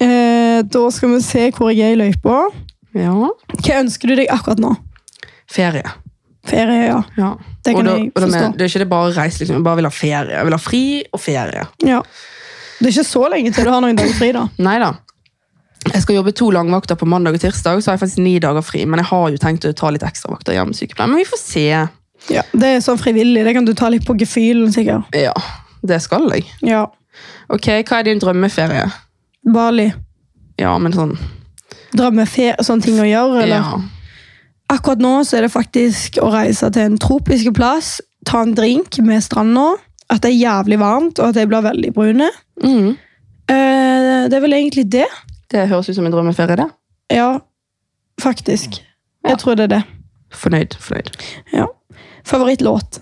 Speaker 1: eh, da skal vi se hvor jeg er i løypa.
Speaker 2: Ja.
Speaker 1: Hva ønsker du deg akkurat nå?
Speaker 2: Ferie.
Speaker 1: Ferie, ja.
Speaker 2: Ja.
Speaker 1: Det kan
Speaker 2: og da,
Speaker 1: jeg
Speaker 2: og da
Speaker 1: forstå.
Speaker 2: men- det er ikke det bare å reise, liksom. Jeg bare vil ha ferie. Jeg vil ha fri og ferie.
Speaker 1: ja. Det er ikke så lenge til du har noen dager fri, da.
Speaker 2: Nei da. Jeg skal jobbe to langvakter på mandag og tirsdag, så har jeg faktisk ni dager fri. Men jeg har jo tenkt å ta litt ekstravakter hjemme i sykepleien. Men vi får se.
Speaker 1: Ja, det er sånn frivillig. Det kan du ta litt på gefühlen, sikkert.
Speaker 2: Ja, det skal jeg.
Speaker 1: Ja.
Speaker 2: Ok, hva er din drømmeferie?
Speaker 1: Bali.
Speaker 2: Ja, men sånn
Speaker 1: Drømmeferie, sånne ting å gjøre, eller?
Speaker 2: ja.
Speaker 1: Akkurat nå så er det faktisk å reise til en tropisk plass, ta en drink med stranda, at det er jævlig varmt, og at jeg blir veldig brune.
Speaker 2: mm.
Speaker 1: Eh, det er vel egentlig det.
Speaker 2: Det høres ut som en drømmeferie, det.
Speaker 1: Ja, faktisk. Jeg tror det er det.
Speaker 2: Fornøyd. fornøyd.
Speaker 1: Ja. Favorittlåt.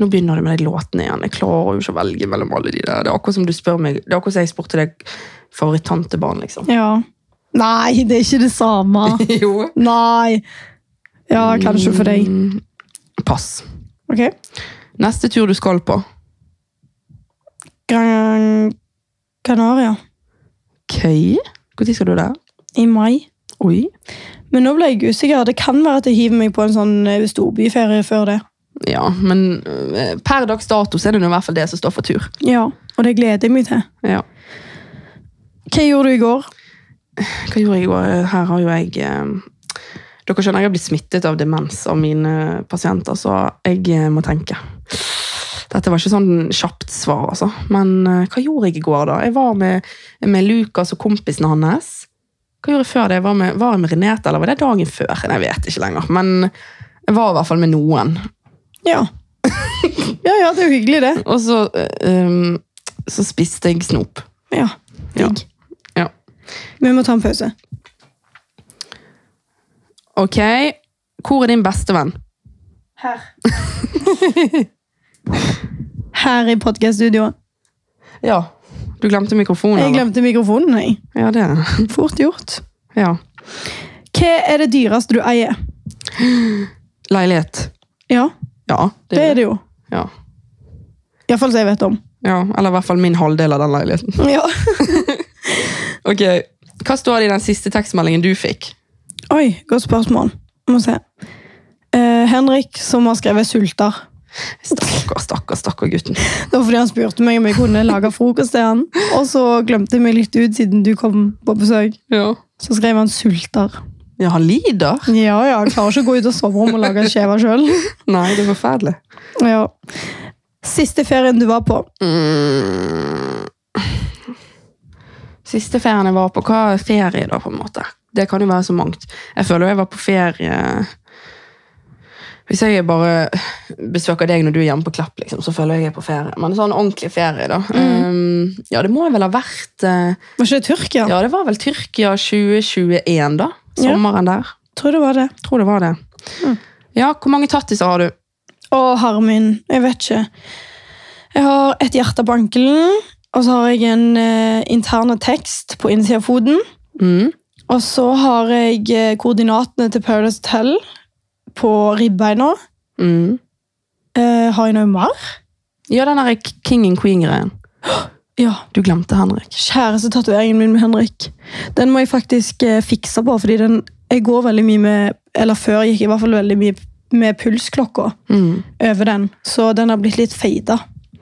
Speaker 2: Nå begynner det med de låtene igjen. Jeg klarer jo ikke å velge mellom alle de der. Det er akkurat som du spør meg, det er akkurat som jeg spurte deg favoritt-tantebarn, liksom.
Speaker 1: Ja. Nei, det er ikke det [LAUGHS] samme.
Speaker 2: [LAUGHS] jo.
Speaker 1: Nei. Ja, kanskje for deg.
Speaker 2: Mm, Pass.
Speaker 1: Ok.
Speaker 2: Neste tur du skal på.
Speaker 1: Gran Canaria
Speaker 2: Ok. Når skal du der?
Speaker 1: i mai.
Speaker 2: Oi.
Speaker 1: Men nå ble jeg usikker. Det kan være at jeg hiver meg på en sånn eh, storbyferie før det.
Speaker 2: Ja, men eh, per dags dato så er det nå i hvert fall det som står for tur.
Speaker 1: Ja, og det gleder jeg meg til.
Speaker 2: Ja.
Speaker 1: Hva gjorde du i går?
Speaker 2: Hva gjorde jeg i går? Her har jo jeg eh, Dere skjønner jeg har blitt smittet av demens av mine pasienter, så jeg eh, må tenke. Dette var ikke sånn kjapt svar, altså. Men eh, hva gjorde jeg i går, da? Jeg var med, med Lukas og kompisen hans. Hva gjorde jeg før det? Jeg Var, med, var jeg med Renete, eller var det dagen før? Nei, Jeg vet ikke lenger. Men jeg var i hvert fall med noen.
Speaker 1: Ja. [LAUGHS] ja, ja, det er jo hyggelig, det.
Speaker 2: Og så, eh, um, så spiste jeg snop.
Speaker 1: Ja,
Speaker 2: Ja.
Speaker 1: digg.
Speaker 2: Ja.
Speaker 1: Vi må ta en pause.
Speaker 2: Ok, hvor er din beste venn?
Speaker 1: Her. [LAUGHS] Her i podkaststudioet.
Speaker 2: Ja. Du glemte mikrofonen,
Speaker 1: Jeg glemte mikrofonen, jeg.
Speaker 2: Ja, det.
Speaker 1: Fort gjort.
Speaker 2: Ja.
Speaker 1: Hva er det dyreste du eier?
Speaker 2: Leilighet.
Speaker 1: Ja,
Speaker 2: Ja,
Speaker 1: det er det jo.
Speaker 2: Ja.
Speaker 1: Iallfall som jeg vet om.
Speaker 2: ja, eller i hvert fall min halvdel av den leiligheten. [LAUGHS]
Speaker 1: Ja.
Speaker 2: Ok, Hva står det i den siste tekstmeldingen du fikk?
Speaker 1: [LAUGHS] Oi, godt spørsmål. Må se. Eh, Henrik, som har skrevet 'sulter'.
Speaker 2: Stakkar, stakkar, stakkar gutten.
Speaker 1: [LAUGHS] Det var fordi han spurte meg om jeg kunne lage frokost til han. Og så glemte jeg meg litt ut siden du kom på besøk.
Speaker 2: Ja,
Speaker 1: Så skrev han 'sulter'.
Speaker 2: ja han lider.
Speaker 1: Ja, ja, jeg klarer ikke å gå ut av soverommet og lage skjeva sjøl.
Speaker 2: Nei, det er forferdelig.
Speaker 1: Ja. Siste ferien du var på.
Speaker 2: Mm. Siste ferien jeg var på, hva er ferie da, på en måte? Det kan jo være så mangt. Jeg føler jo jeg var på ferie Hvis jeg bare besøker deg når du er hjemme på Klepp, liksom, så føler jeg jeg er på ferie. Men sånn ordentlig ferie, da.
Speaker 1: Mm.
Speaker 2: Um, ja, det må jeg vel ha vært eh,
Speaker 1: Var ikke det Tyrkia?
Speaker 2: Ja, det var vel Tyrkia 2021, da.
Speaker 1: Ja.
Speaker 2: Sommeren der.
Speaker 1: Tror det var det.
Speaker 2: Tror det var det.
Speaker 1: Mm.
Speaker 2: Ja, hvor mange tattiser har du?
Speaker 1: Å, herre min. Jeg vet ikke. Jeg har et hjerte på ankelen, og så har jeg en eh, interne tekst på innsiden av foten.
Speaker 2: Mm.
Speaker 1: Og så har jeg eh, koordinatene til Paradise Hotel på ribbeina.
Speaker 2: Mm.
Speaker 1: Eh, har jeg noe mer?
Speaker 2: Ja, den derre King and Queen-greien.
Speaker 1: Ja.
Speaker 2: Du glemte Henrik.
Speaker 1: Kjærestetatoveringen min med Henrik. Den må jeg faktisk eh, fikse på, fordi den, jeg går veldig mye med Eller før gikk jeg i hvert fall veldig mye med pulsklokka
Speaker 2: Mm.
Speaker 1: over den, så den har blitt litt feida.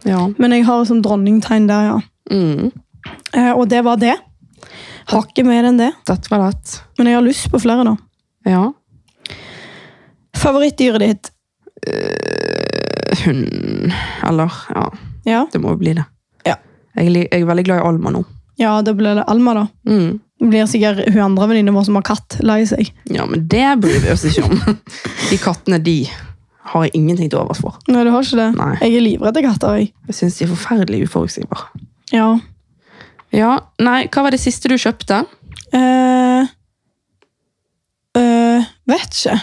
Speaker 2: Ja.
Speaker 1: Men jeg har sånn dronningtegn der, ja.
Speaker 2: Mm.
Speaker 1: Eh, og det var det. Har ikke mer enn det,
Speaker 2: Dette var lett.
Speaker 1: men jeg har lyst på flere nå.
Speaker 2: Ja.
Speaker 1: Favorittdyret ditt?
Speaker 2: Hund Eh, Eller Ja,
Speaker 1: Ja,
Speaker 2: det må jo bli det.
Speaker 1: Ja.
Speaker 2: Jeg, li- jeg er veldig glad i Alma nå.
Speaker 1: ja da blir det Alma, da.
Speaker 2: Mm.
Speaker 1: Det blir sikkert hun andre venninna vår som har katt, lei seg.
Speaker 2: Ja, men det bryr vi oss ikke om. [LAUGHS] De kattene, de har jeg ingenting til overs for.
Speaker 1: Nei, du har ikke det?
Speaker 2: Nei.
Speaker 1: Jeg er livredd katter, jeg.
Speaker 2: Jeg syns de er forferdelig uforutsigbare.
Speaker 1: Ja.
Speaker 2: Ja, nei, hva var det siste du kjøpte?
Speaker 1: Eh, eh, vet ikke.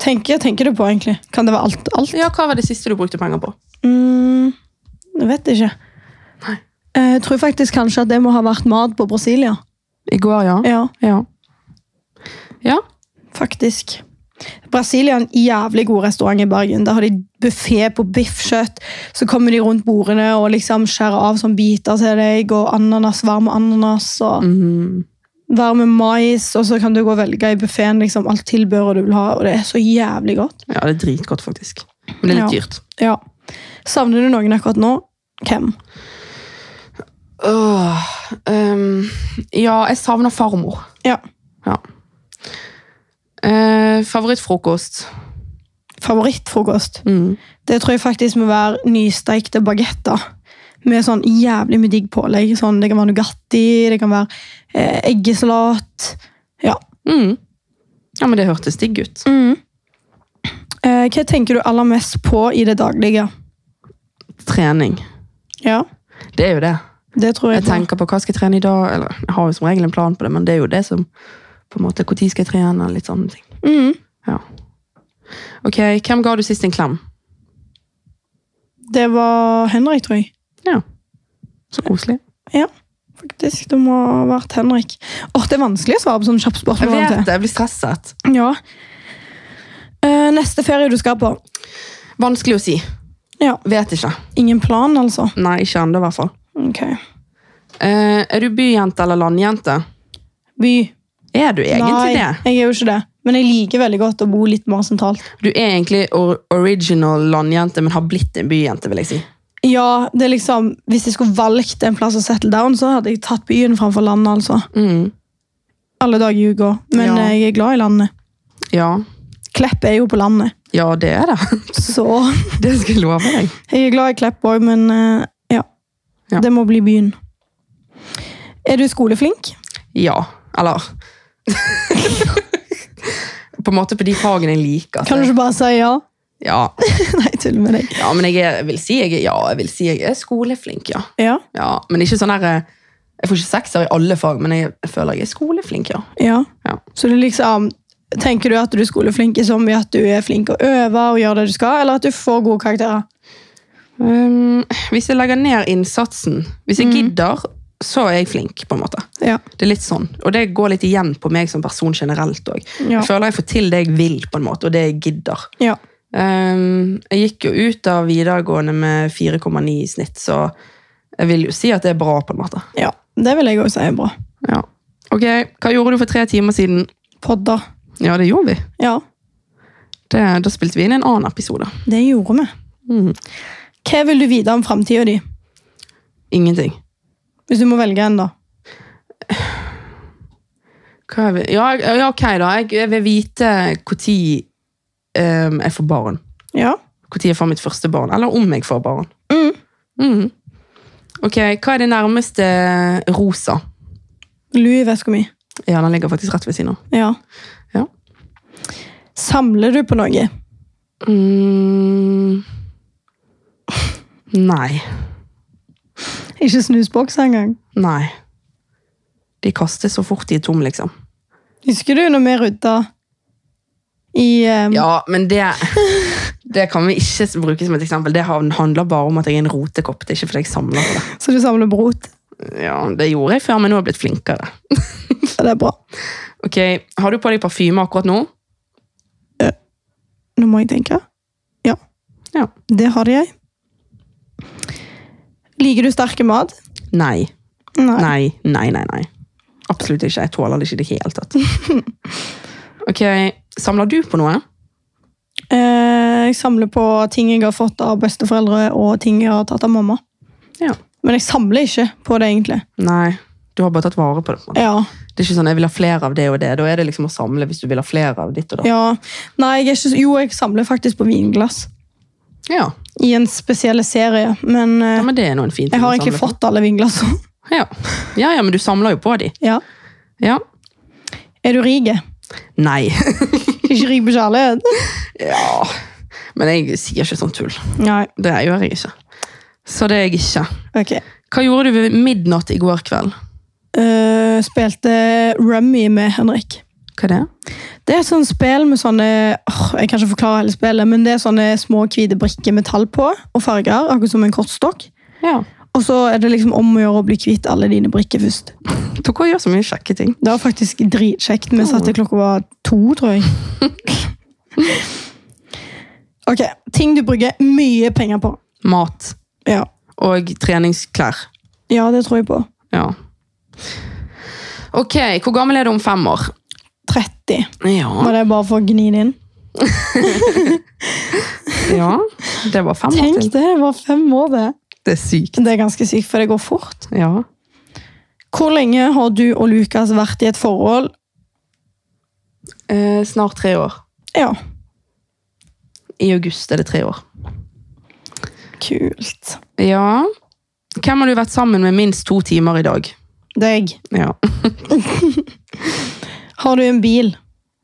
Speaker 1: Tenker, tenker du på, egentlig? Kan det være alt? alt?
Speaker 2: Ja, hva var det siste du brukte penger på?
Speaker 1: Mm, jeg vet ikke.
Speaker 2: Nei.
Speaker 1: Eh, Jeg tror faktisk kanskje at det må ha vært mat på Brasilia.
Speaker 2: I går, ja.
Speaker 1: Ja,
Speaker 2: Ja. Ja,
Speaker 1: faktisk. Brasilia er en jævlig god restaurant i Bergen. Der har de buffé på biffkjøtt. Så kommer de rundt bordene og liksom skjærer av sånn biter til deg, og ananas, varm ananas. og...
Speaker 2: Mhm.
Speaker 1: varme mais, og så kan du gå og velge i buffeen liksom, alt tilbehøret du vil ha, og det er så jævlig godt.
Speaker 2: ja det er dritgodt, faktisk. Men det er litt dyrt.
Speaker 1: Ja. Savner du noen akkurat nå? Hvem?
Speaker 2: Åh, ehm, ja, jeg savner farmor.
Speaker 1: Ja.
Speaker 2: Ja. Eh, favorittfrokost.
Speaker 1: Favorittfrokost?
Speaker 2: Mm.
Speaker 1: Det tror jeg faktisk må være nystekte bagetter. Med sånn jævlig mye digg pålegg. Sånn, det kan være Nugatti, det kan være eh, eggesalat. Ja.
Speaker 2: Mm. Ja, men det hørtes digg ut.
Speaker 1: Eh, hva tenker du aller mest på i det daglige?
Speaker 2: Trening.
Speaker 1: Ja,
Speaker 2: Det er jo det.
Speaker 1: det tror jeg.
Speaker 2: Jeg
Speaker 1: på.
Speaker 2: tenker på hva skal jeg trene i dag, eller jeg har jo som regel en plan på det, men det er jo det som på en måte, Når skal jeg trene? Litt sånne ting.
Speaker 1: Mm.
Speaker 2: Ja. Ok, Hvem ga du sist en klem?
Speaker 1: Det var Henrik, tror jeg.
Speaker 2: Ja. Så koselig.
Speaker 1: Ja, faktisk. Det må ha vært Henrik. Åh, Det er vanskelig å svare på sånne kjappe
Speaker 2: Jeg
Speaker 1: spørsmål.
Speaker 2: vet
Speaker 1: av og
Speaker 2: det, jeg blir stresset.
Speaker 1: til. Ja. Eh, neste ferie du skal på?
Speaker 2: Vanskelig å si.
Speaker 1: Ja.
Speaker 2: Vet ikke.
Speaker 1: Ingen plan, altså?
Speaker 2: Nei, ikke ennå, i hvert fall.
Speaker 1: Ok.
Speaker 2: Eh, er du byjente eller landjente?
Speaker 1: By.
Speaker 2: Er du egentlig
Speaker 1: Nei,
Speaker 2: det?
Speaker 1: jeg er jo ikke det. Men jeg liker veldig godt å bo litt mer sentralt.
Speaker 2: Du er egentlig or original landjente, men har blitt en byjente, vil jeg si.
Speaker 1: Ja, det er liksom, Hvis jeg skulle valgt en plass å settle down, så hadde jeg tatt byen framfor landet. altså.
Speaker 2: Mm.
Speaker 1: Alle dager ljuger, men
Speaker 2: Ja.
Speaker 1: eh, jeg er glad i landet.
Speaker 2: Ja.
Speaker 1: Klepp er jo på landet,
Speaker 2: ja, det er det.
Speaker 1: så
Speaker 2: [LAUGHS]
Speaker 1: [LAUGHS]
Speaker 2: Det skal jeg love deg.
Speaker 1: jeg er glad i Klepp òg, men eh, ja.
Speaker 2: Ja.
Speaker 1: Det må bli byen. Er du skoleflink?
Speaker 2: Ja. Eller [LAUGHS] På en måte på de fagene jeg liker. Altså,
Speaker 1: Kan du ikke bare si ja? [LAUGHS]
Speaker 2: Ja.
Speaker 1: Nei, tuller med deg.
Speaker 2: ja, men jeg er, vil si jeg er, ja, jeg vil si jeg er skoleflink, ja.
Speaker 1: Ja,
Speaker 2: ja. Men ikke sånn her eh, Jeg får ikke sekser i alle fag, men jeg, jeg føler jeg er skoleflink, ja.
Speaker 1: ja.
Speaker 2: Ja.
Speaker 1: Så du liksom Tenker du at du er skoleflink i sånn ved at du er flink å øve og gjør det du skal, eller at du får gode karakterer?
Speaker 2: Um, hvis jeg legger ned innsatsen, hvis jeg gidder, så er jeg flink, på en måte.
Speaker 1: Ja.
Speaker 2: Det er litt sånn, Og det går litt igjen på meg som person generelt òg.
Speaker 1: Ja.
Speaker 2: Jeg føler jeg får til det jeg vil, på en måte, og det jeg gidder.
Speaker 1: ja.
Speaker 2: Um, jeg gikk jo ut av videregående med 4,9 i snitt, så jeg vil jo si at det er bra, på en måte.
Speaker 1: Ja, det vil jeg òg si er bra.
Speaker 2: Ja. Ok, Hva gjorde du for tre timer siden?
Speaker 1: Podder.
Speaker 2: Ja, det gjorde vi.
Speaker 1: Ja,
Speaker 2: Det, da spilte vi inn en annen episode.
Speaker 1: det gjorde vi.
Speaker 2: Mm.
Speaker 1: Hva vil du vite om framtida di,
Speaker 2: Ingenting.
Speaker 1: hvis du må velge en, da?
Speaker 2: Hva er vi? Ja, ja, ok, da. Jeg, jeg vil vite når um, jeg får barn.
Speaker 1: Ja.
Speaker 2: Når jeg får mitt første barn. Eller om jeg får barn.
Speaker 1: Mm.
Speaker 2: Mhm. Ok, Hva er det nærmeste rosa?
Speaker 1: Louis veska mi.
Speaker 2: Ja, Den ligger faktisk rett ved siden av.
Speaker 1: Ja.
Speaker 2: Ja.
Speaker 1: Samler du på noe?
Speaker 2: Mm. Nei.
Speaker 1: Ikke snusbokser engang.
Speaker 2: Nei. De kastes så fort de er tom, liksom.
Speaker 1: Husker du når vi rydda i um,
Speaker 2: Ja, men det [LAUGHS] Det kan vi ikke bruke som et eksempel. Det han- handler bare om at jeg er en rotekopp. Det er ikke fordi jeg samler på det.
Speaker 1: Så du samler brot?
Speaker 2: Ja, Det gjorde jeg før, men nå har jeg blitt flinkere.
Speaker 1: Ja, det er bra.
Speaker 2: Ok, Har du på deg parfyme akkurat nå?
Speaker 1: Nå må jeg tenke. Ja.
Speaker 2: Ja.
Speaker 1: Det har jeg. Liker du sterke mat?
Speaker 2: Nei. Nei, nei, nei. nei. Absolutt ikke. Jeg tåler det ikke i det hele tatt. [LAUGHS] Ok, Samler du på noe?
Speaker 1: Eh, jeg samler på ting jeg har fått av besteforeldre, og ting jeg har tatt av mamma.
Speaker 2: Ja.
Speaker 1: Men jeg samler ikke på det, egentlig.
Speaker 2: Nei. Du har bare tatt vare på det. på en måte.
Speaker 1: Ja,
Speaker 2: Det er ikke sånn, jeg vil ha flere av det og det. Da er det liksom å samle hvis du vil ha flere av ditt og datt.
Speaker 1: ja. Nei, jeg er ikke, så- jo, jeg samler faktisk på vinglass.
Speaker 2: Ja.
Speaker 1: I en spesiell serie, men eh,
Speaker 2: ja, men det er nå en fin ting
Speaker 1: jeg har
Speaker 2: å
Speaker 1: egentlig
Speaker 2: samle på.
Speaker 1: fått alle vinglassene.
Speaker 2: Ja. Ja, ja, men du samler jo på de.
Speaker 1: [LAUGHS] Ja.
Speaker 2: Ja.
Speaker 1: Er du rik?
Speaker 2: Nei. [LAUGHS]
Speaker 1: Ikke rik på kjærlighet?
Speaker 2: Ja, men jeg sier ikke sånn tull.
Speaker 1: Nei.
Speaker 2: Det gjør jeg ikke. Så det er jeg ikke.
Speaker 1: Ok.
Speaker 2: Hva gjorde du ved midnatt i går kveld?
Speaker 1: Eh, spilte Rummy med Henrik.
Speaker 2: Hva er det?
Speaker 1: Det er et sånt spill med sånne åh, Jeg kan ikke forklare hele spillet, men det er sånne små hvite brikker med tall på og farger, akkurat som en kortstokk.
Speaker 2: Ja.
Speaker 1: Og så er det liksom om å gjøre å bli kvitt alle dine brikker først.
Speaker 2: Dere gjør så mye kjekke ting.
Speaker 1: Det var faktisk dritkjekt. Vi satte klokka var to, tror jeg.
Speaker 2: [LAUGHS]
Speaker 1: Ok, Ting du bruker mye penger på.
Speaker 2: Mat
Speaker 1: Ja,
Speaker 2: og treningsklær.
Speaker 1: ja det tror jeg på.
Speaker 2: Ja. Ok, hvor gammel er du om fem år?
Speaker 1: 30.
Speaker 2: Ja.
Speaker 1: Var det bare for å gni det inn?
Speaker 2: ja. Det var fem år
Speaker 1: Tenk
Speaker 2: til.
Speaker 1: det! Det var fem år, det.
Speaker 2: Det er sykt.
Speaker 1: Det er ganske sykt, for det går fort.
Speaker 2: Ja.
Speaker 1: Hvor lenge har du og Lukas vært i et forhold?
Speaker 2: Eh, snart tre år.
Speaker 1: Ja,
Speaker 2: I august er det tre år.
Speaker 1: kult.
Speaker 2: Ja. Hvem har du vært sammen med minst to timer i dag?
Speaker 1: Deg.
Speaker 2: Ja.
Speaker 1: Har du en bil?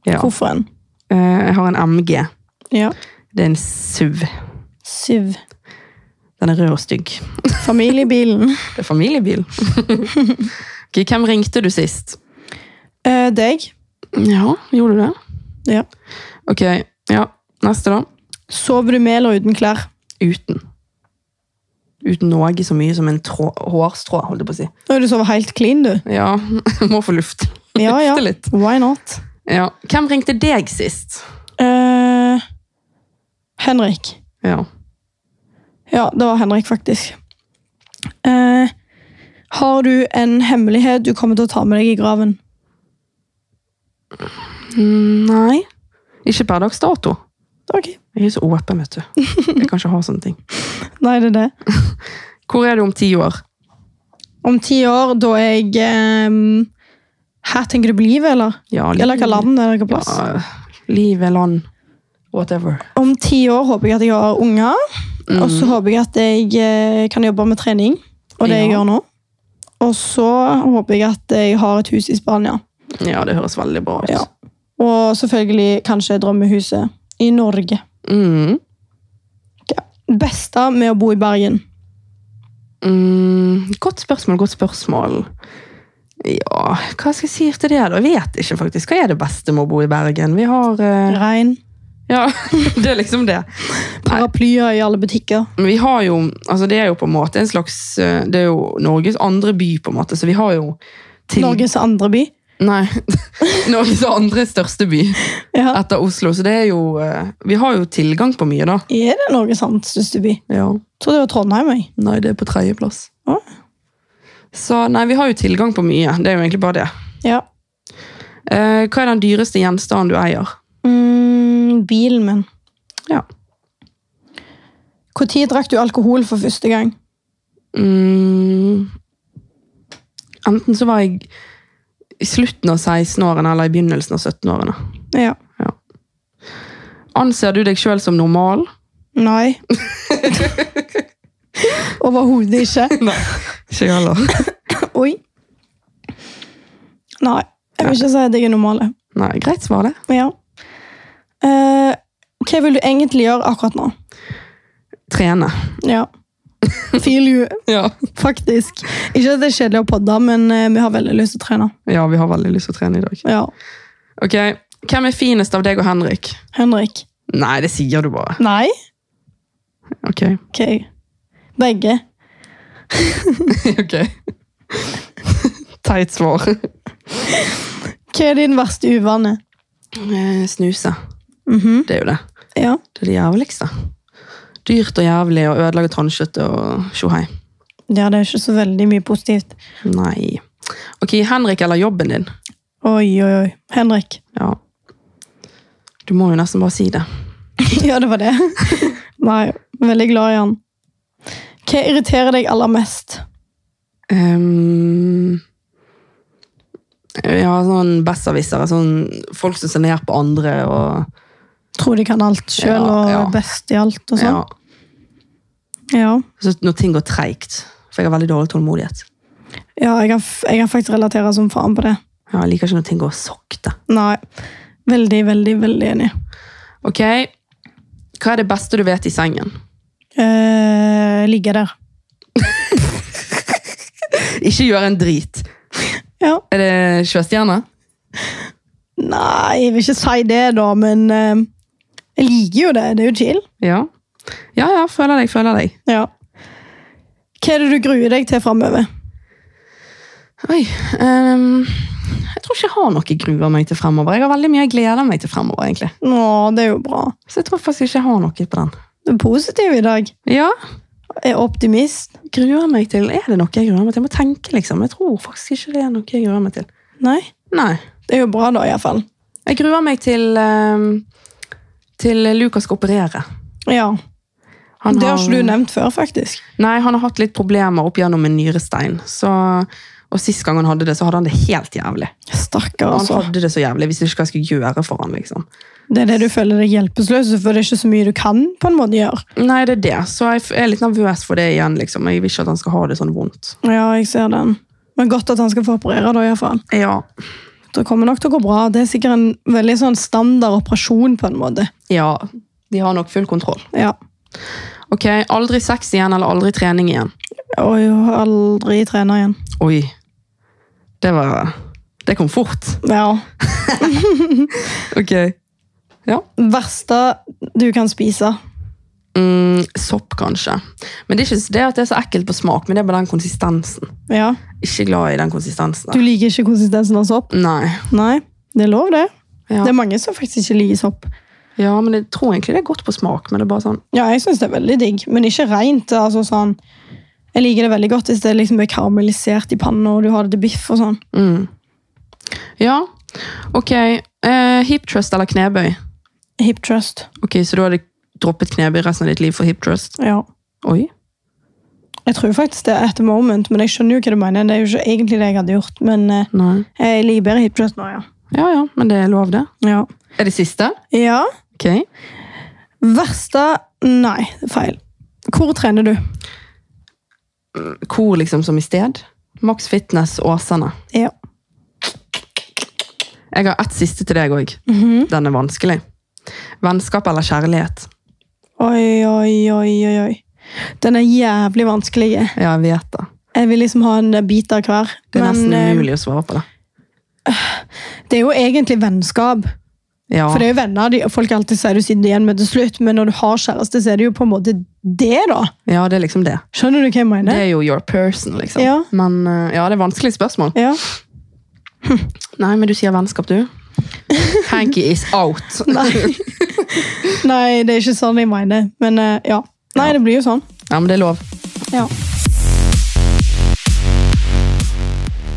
Speaker 2: ja.
Speaker 1: Hvorfor en?
Speaker 2: Eh, jeg har en MG.
Speaker 1: Ja.
Speaker 2: Det er en SUV.
Speaker 1: Syv.
Speaker 2: Den er rød og stygg.
Speaker 1: Familiebilen.
Speaker 2: Det er familiebil. [LAUGHS] Ok, hvem ringte du sist?
Speaker 1: Eh, deg.
Speaker 2: Ja, gjorde du det?
Speaker 1: Ja.
Speaker 2: Ok, ja. Neste da.
Speaker 1: Sover du med eller uten klær?
Speaker 2: Uten. Uten noe så mye som en trå, hårstrå, holdt jeg på å si.
Speaker 1: Nå er du sovet helt clean, du.
Speaker 2: Ja, [LAUGHS] må få luft.
Speaker 1: Ja, ja.
Speaker 2: Lufte litt.
Speaker 1: Why not?
Speaker 2: Ja. Hvem ringte deg sist?
Speaker 1: Eh, Henrik.
Speaker 2: Ja.
Speaker 1: Ja, det var Henrik, faktisk. Eh, har du en hemmelighet du kommer til å ta med deg i graven?
Speaker 2: Mm, Nei. Ikke per dags dato.
Speaker 1: Ok.
Speaker 2: Jeg er så åpen, vet du. Jeg kan ikke ha sånne ting.
Speaker 1: Nei, det er det.
Speaker 2: [LAUGHS] Hvor er du om ti år?
Speaker 1: Om ti år, da er jeg ehm, Her tenker du på livet, eller?
Speaker 2: Ja, liv-
Speaker 1: Eller hva land eller hva plass?
Speaker 2: Ja, livet, land, whatever.
Speaker 1: Om ti år håper jeg at jeg har unger. Og så håper jeg at jeg eh, kan jobbe med trening, og det jeg
Speaker 2: Ja.
Speaker 1: gjør nå. Og så håper jeg at jeg har et hus i Spania.
Speaker 2: Ja, det høres veldig bra ut.
Speaker 1: Ja. Og selvfølgelig kanskje drømmehuset i Norge.
Speaker 2: Mm.
Speaker 1: Det beste med å bo i Bergen.
Speaker 2: Mm. Godt spørsmål, godt spørsmål. Ja, hva skal jeg si til det? da? Jeg vet ikke faktisk. Hva er det beste med å bo i Bergen? Vi har eh,
Speaker 1: Regn.
Speaker 2: Ja, [LAUGHS] det er liksom det.
Speaker 1: Paraplyer i alle butikker.
Speaker 2: Men vi har jo Altså, det er jo på en måte en slags eh, Det er jo Norges andre by, på en måte, så vi har jo til-
Speaker 1: Norges andre by.
Speaker 2: Nei. [LAUGHS] Norges andre største by
Speaker 1: Ja.
Speaker 2: etter Oslo, så det er jo eh, Vi har jo tilgang på mye, da.
Speaker 1: Er det Norges andre største by?
Speaker 2: Ja.
Speaker 1: Trodde det var Trondheim. Jeg.
Speaker 2: Nei, det er på tredjeplass.
Speaker 1: Å.
Speaker 2: Så nei, vi har jo tilgang på mye. Det er jo egentlig bare det.
Speaker 1: Ja.
Speaker 2: Eh, hva er den dyreste gjenstanden du eier?
Speaker 1: Mm, bilen min.
Speaker 2: Ja.
Speaker 1: Når drakk du alkohol for første gang?
Speaker 2: Mm, enten så var jeg i slutten av 16-årene eller i begynnelsen av 17-årene.
Speaker 1: Ja.
Speaker 2: Anser du deg sjøl som normal? [LAUGHS]
Speaker 1: Nei. Overhodet ikke.
Speaker 2: [LAUGHS] Nei. Ikke jeg heller.
Speaker 1: Oi. Nei. Jeg vil ikke si at jeg er normal.
Speaker 2: [LAUGHS] Nei, greit svar, det.
Speaker 1: Ja. Eh, hva vil du egentlig gjøre akkurat nå?
Speaker 2: Trene.
Speaker 1: Ja. Feel you,
Speaker 2: Ja.
Speaker 1: faktisk. Ikke at det er kjedelig å podde, men eh, vi har veldig lyst til å trene.
Speaker 2: ja, vi har veldig lyst til å trene i dag.
Speaker 1: Ja.
Speaker 2: Ok, Hvem er finest av deg og Henrik?
Speaker 1: Henrik.
Speaker 2: Nei, det sier du bare.
Speaker 1: Nei?
Speaker 2: Ok.
Speaker 1: Ok. Begge.
Speaker 2: [LAUGHS] ok. [LAUGHS] Teit svar.
Speaker 1: Hva er din verste uvane?
Speaker 2: Eh, Snuse.
Speaker 1: Mhm.
Speaker 2: Det er jo det.
Speaker 1: Ja.
Speaker 2: Det er det jævligste. Dyrt og jævlig og ødelegge tannkjøttet og tjohei.
Speaker 1: Ja, det er ikke så veldig mye positivt.
Speaker 2: Nei. Ok, Henrik eller jobben din?
Speaker 1: Oi, oi, oi. Henrik. [LAUGHS]
Speaker 2: Ja. Du må jo nesten bare si det.
Speaker 1: ja, det var det. [LAUGHS] Nei, veldig glad i han. Hva irriterer deg aller mest?
Speaker 2: Ehm, ja, sånn besserwissere. Sånn folk som ser ned på andre og
Speaker 1: Tror de kan alt sjøl
Speaker 2: Ja,
Speaker 1: og
Speaker 2: ja.
Speaker 1: er best i alt og sånn?
Speaker 2: ja.
Speaker 1: Ja. ja.
Speaker 2: Så Når ting går treigt. For jeg har veldig dårlig tålmodighet.
Speaker 1: jeg, kan, f- jeg kan faktisk relatere som faen på det.
Speaker 2: Ja, jeg liker ikke når ting går sakte.
Speaker 1: Nei. Veldig, veldig, veldig enig.
Speaker 2: Ok, Hva er det beste du vet i sengen? [LAUGHS]
Speaker 1: Eh, ligge der.
Speaker 2: Ikke gjør en drit.
Speaker 1: Ja.
Speaker 2: Er det sjøstjerne?
Speaker 1: Nei, jeg vil ikke si det, da, men eh, jeg liker jo det. Det er jo chill.
Speaker 2: Ja. ja, ja, føler deg, føler deg.
Speaker 1: Ja. Hva er det du gruer deg til framover?
Speaker 2: Oi, ehm, Jeg tror ikke jeg har noe jeg gruer meg til fremover. Jeg har veldig mye jeg gleder meg til fremover. egentlig.
Speaker 1: Å, det er jo bra.
Speaker 2: Så jeg tror faktisk ikke jeg har noe på den.
Speaker 1: Du er positiv i dag.
Speaker 2: Ja,
Speaker 1: Er optimist.
Speaker 2: gruer meg til. Er det noe jeg gruer meg til? Jeg må tenke, liksom. Jeg tror faktisk ikke det er noe jeg gruer meg til.
Speaker 1: Nei.
Speaker 2: Nei.
Speaker 1: Det er jo bra, da, iallfall.
Speaker 2: Jeg gruer meg til ehm, til Lukas skal operere.
Speaker 1: Ja.
Speaker 2: Han
Speaker 1: det har ikke du nevnt før, faktisk.
Speaker 2: Nei, han har hatt litt problemer opp gjennom en nyrestein. Så, og sist gang han hadde det, så hadde han det helt jævlig.
Speaker 1: Stakkar,
Speaker 2: Han
Speaker 1: altså.
Speaker 2: hadde det så jævlig, hvis ikke hva jeg skulle gjøre for han, liksom.
Speaker 1: Det er det du føler deg hjelpeløs for det er ikke så mye du kan på en måte gjøre.
Speaker 2: Nei, det er det. Så jeg f- er litt nervøs for det igjen, liksom. Jeg vil ikke at han skal ha det sånn vondt.
Speaker 1: Ja, jeg ser den. Men godt at han skal få operere, da, iallfall.
Speaker 2: Ja.
Speaker 1: Det kommer nok til å gå bra. Det er sikkert en veldig sånn standard operasjon, på en måte.
Speaker 2: Ja, de har nok full kontroll.
Speaker 1: Ja.
Speaker 2: Ok, aldri sex igjen, eller aldri trening igjen.
Speaker 1: Og jeg har aldri trene igjen.
Speaker 2: Oi. Det var... Det kom fort.
Speaker 1: Ja.
Speaker 2: Ok.
Speaker 1: Verste du kan spise.
Speaker 2: Mm, sopp, kanskje. Men det er ikke det at det er så ekkelt på smak, men det er bare den konsistensen.
Speaker 1: Ja.
Speaker 2: Ikke glad i den konsistensen.
Speaker 1: Du
Speaker 2: der.
Speaker 1: liker ikke konsistensen av sopp?
Speaker 2: Nei.
Speaker 1: Nei. Det er lov, det.
Speaker 2: Ja.
Speaker 1: Det er mange som faktisk ikke liker sopp.
Speaker 2: ja, men jeg tror egentlig det er godt på smak, men det er bare sånn...
Speaker 1: Ja, jeg syns det er veldig digg, men ikke rent. Altså sånn Jeg liker det veldig godt hvis det liksom er karamellisert i panna, og du har det til biff og sånn.
Speaker 2: Mm. Ja, Ok, eh, hip trust eller knebøy?
Speaker 1: Hip trust.
Speaker 2: Ok, Så du hadde droppet knebøy resten av ditt liv for hip trust?
Speaker 1: Ja.
Speaker 2: Oi.
Speaker 1: Jeg tror faktisk det er et moment, men jeg skjønner jo hva du mener. Det er jo ikke egentlig det jeg hadde gjort, men eh,
Speaker 2: Nei.
Speaker 1: jeg liker bedre hip trust nå, ja.
Speaker 2: Ja ja, men det er lov, det.
Speaker 1: Ja.
Speaker 2: Er det siste?
Speaker 1: ja.
Speaker 2: Ok.
Speaker 1: Verste Nei, feil. Hvor trener du?
Speaker 2: Hvor liksom som i sted? Max Fitness Åsane.
Speaker 1: Ja.
Speaker 2: Jeg har ett siste til deg òg.
Speaker 1: Mhm.
Speaker 2: Den er vanskelig. Vennskap eller kjærlighet?
Speaker 1: Oi, oi, oi, oi, oi. Den er jævlig vanskelig.
Speaker 2: Ja, jeg vet det.
Speaker 1: Jeg vil liksom ha en bit av hver.
Speaker 2: Det er nesten
Speaker 1: eh,
Speaker 2: umulig å svare på det.
Speaker 1: det er jo egentlig vennskap.
Speaker 2: Ja,
Speaker 1: For det er jo venner de, folk alltid sier du sitter igjen med til slutt, men når du har kjæreste, så er det jo på en måte det, da.
Speaker 2: ja, det er liksom det.
Speaker 1: Skjønner du hva jeg
Speaker 2: Det
Speaker 1: mener?
Speaker 2: er jo your person, liksom.
Speaker 1: Ja.
Speaker 2: Men eh, ja, det er vanskelige spørsmål.
Speaker 1: Ja.
Speaker 2: Nei, men du sier vennskap, du. Hanky is out. [LAUGHS]
Speaker 1: Nei. Nei, det er ikke sånn jeg mener. Men eh, ja. Nei, det blir jo sånn.
Speaker 2: Ja, men det er lov.
Speaker 1: Ja.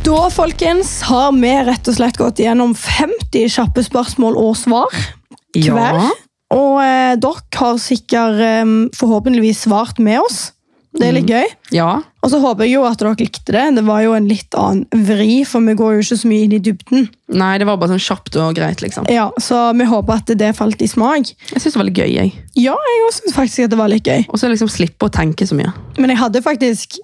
Speaker 1: Da, folkens, har vi rett og slett gått gjennom 50 kjappe spørsmål og svar. Hver?
Speaker 2: Ja.
Speaker 1: Og eh, dere har sikkert eh, forhåpentligvis svart med oss. Det er litt gøy.
Speaker 2: ja.
Speaker 1: Og så håper jeg jo at dere likte det. Det var jo en litt annen vri, for vi går jo ikke så mye inn i dybden.
Speaker 2: Nei, det var bare sånn kjapt og greit, liksom.
Speaker 1: Ja, Så vi håper at det falt i smak.
Speaker 2: Jeg syns det var litt gøy, jeg.
Speaker 1: Ja, jeg også synes faktisk at det var litt gøy.
Speaker 2: Og så liksom slippe å tenke så mye.
Speaker 1: Men jeg hadde faktisk,